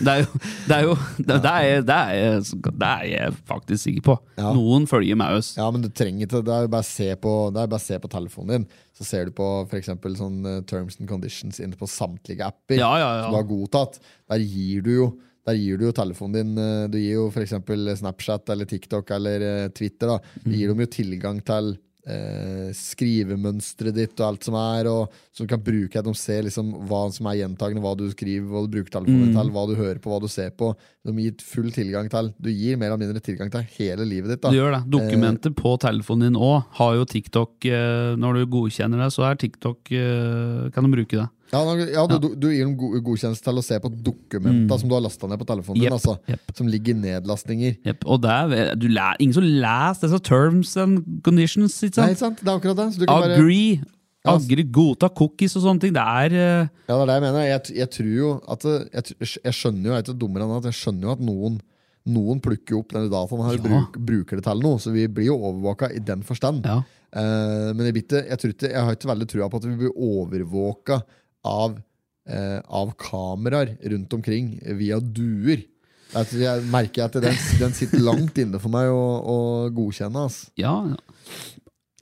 B: Det er jo Det er, jo, det, det er, jeg- det er, jeg- det er jeg faktisk sikker på.
A: Ja.
B: Noen følger med oss.
A: Ja, men du trenger ikke Det er jo bare å se på, det er jo bare å se på telefonen din. Så ser du på f.eks. sånn eh, terms and conditions inne på samtlige apper
B: Ja, ja,
A: som du
B: ja.
A: har godtatt. Der gir du jo der gir du jo telefonen din eh, Du gir jo f.eks. Snapchat eller TikTok eller eh, Twitter. da Du
B: Mm.
A: gir dem jo tilgang til eh, skrivemønsteret ditt og alt som er, og som kan bruke at de ser liksom hva som er gjentagende, hva du skriver, hva du bruker telefonen
B: Mm.
A: din til, hva du hører på, hva du ser på. De gir full tilgang til Du gir mer eller mindre tilgang til hele livet ditt. da Eh.
B: Du gjør det. Dokumenter på telefonen din òg har jo TikTok eh, Når du godkjenner det, så er TikTok eh, Kan du bruke det.
A: Ja, da- ja du, du, du gir dem go- godkjennelse til å se på dokumenta
B: Mm.
A: som du har lasta ned på telefonen din.
B: Jepp,
A: Altså,
B: jepp.
A: Som ligger i nedlastninger.
B: Jepp. Og det er du læ- ingen som leser disse terms and conditions, ikke
A: Nei,
B: sant?
A: ikke sant? Det er akkurat det. Så du kan bare,
B: Agree.
A: Ja.
B: Agri, godta cookies og sånne ting. Det er eh,
A: ja, det er det jeg mener. Jeg, t- jeg tror jo at det- jeg, tr- jeg skjønner jo, jeg er ikke dummere enn at jeg skjønner jo at noen noen plukker jo opp denne dataen her og
B: Ja.
A: bruk, bruker det til noe, så vi blir jo overvåka i den forstand.
B: Ja.
A: Eh, men jeg, blir ikke- jeg, tror ikke, jeg har ikke veldig trua på at vi blir overvåka av, eh, av kameraer rundt omkring via duer. Jeg, tror- jeg merker at den, den sitter langt inne for meg å, å godkjenne. ass.
B: Ja. ja.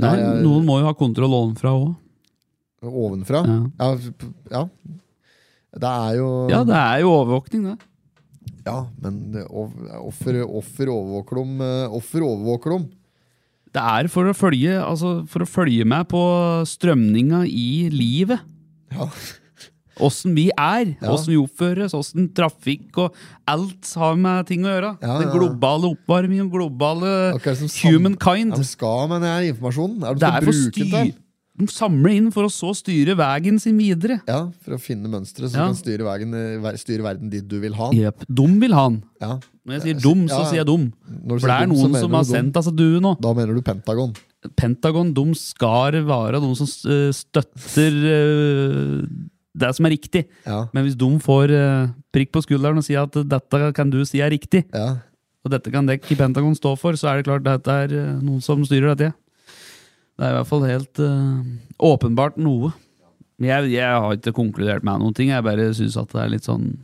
B: Nei,
A: Nei, jeg-
B: noen må jo ha kontroll ovenfra òg.
A: Ovenfra.
B: Ja.
A: Ja. p- ja. Det er jo
B: ja, det er jo overvåkning, det.
A: Ja, men det- of- offer, offer overvåker dem. eh, Offer overvåker dem.
B: Det er for å følge, altså, for å følge med på strømninga i livet.
A: Ja.
B: Åssen vi er,
A: Ja.
B: åssen vi oppføres, åssen trafikk og alt har med ting å gjøre.
A: Ja,
B: Den
A: ja.
B: globale oppvarmingen, den globale
A: Akkurat som sam- Ja,
B: humankind.
A: de skal med den her informasjonen. Er de
B: det
A: skal
B: er for
A: bruke den
B: styr...
A: til?
B: De samler inn for å så styre veien sin videre.
A: Ja, For å finne mønstre som
B: Ja.
A: kan styre, veien, eh, ver- styre verden dit du vil ha den.
B: Jep. Dum vil han.
A: Ja.
B: Når jeg sier dum, så
A: Ja, ja.
B: sier jeg dum.
A: Når du
B: For det
A: sier
B: er
A: dum, så
B: noen
A: mener
B: som
A: du
B: har
A: dum.
B: sendt altså due nå.
A: Da mener du Pentagon.
B: Pentagon de skal være de som eh, støtter eh, det som er riktig.
A: Ja.
B: Men hvis de får eh, prikk på skulderen og sier at dette kan du si er riktig,
A: ja.
B: og dette kan dekk i Pentagon stå for, så er det klart dette er eh, noen som styrer dette. Det er i hvert fall helt eh, åpenbart noe. Men Jeg, jeg har ikke konkludert med noen ting. Jeg bare syns at det er litt sånn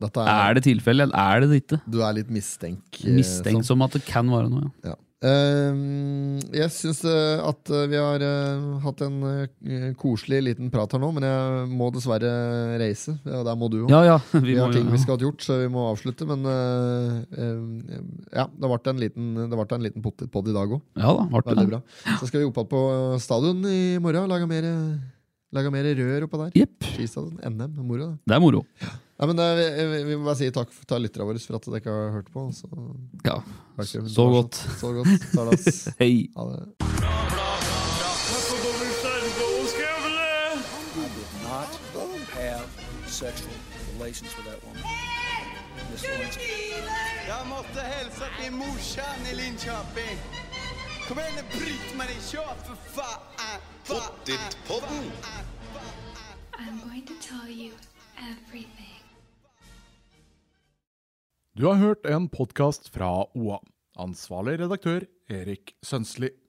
A: Dette er,
B: Er det tilfelle, eller er det ikke?
A: Du er litt mistenk. eh,
B: Mistenkt som at det kan være noe, ja.
A: sånn. Ja. Ehm, jeg syns eh, at eh, vi har eh, hatt en eh, koselig liten prat her nå, men jeg må dessverre reise. Ja, der må du òg.
B: Ja ja. *laughs*
A: Vi,
B: Vi,
A: har
B: må jo-
A: ting vi skal ha gjort, så vi må avslutte. Men eh, eh, ja, det ble en liten, det ble en liten pottetpodd i dag òg.
B: Ja da, ble
A: Veldig
B: det.
A: bra. Så skal vi opp igjen på stadion i morgen. Lage mer, lage mer rør oppå der.
B: Jepp.
A: Skistadion. NM. Moro, det.
B: Det er moro.
A: Nei, men det, vi, vi- vi må bare si takk til lytterne våre for at dere ikke har hørt på. og Så,
B: Ja.
A: takk til-
B: Så godt.
A: Så godt. Talas.
B: Hei.
A: Ha det.
C: Not have sexual relations with that woman. Miss Lewinsky.
D: Jag måste hälsa till morsan i Linköping. Kom igen nu Britt-Marie, kör för fan! Pottit-podden!
E: I'm going to tell you everything.
F: Du har hørt en podkast fra OA. Ansvarlig redaktør Erik Sønsli.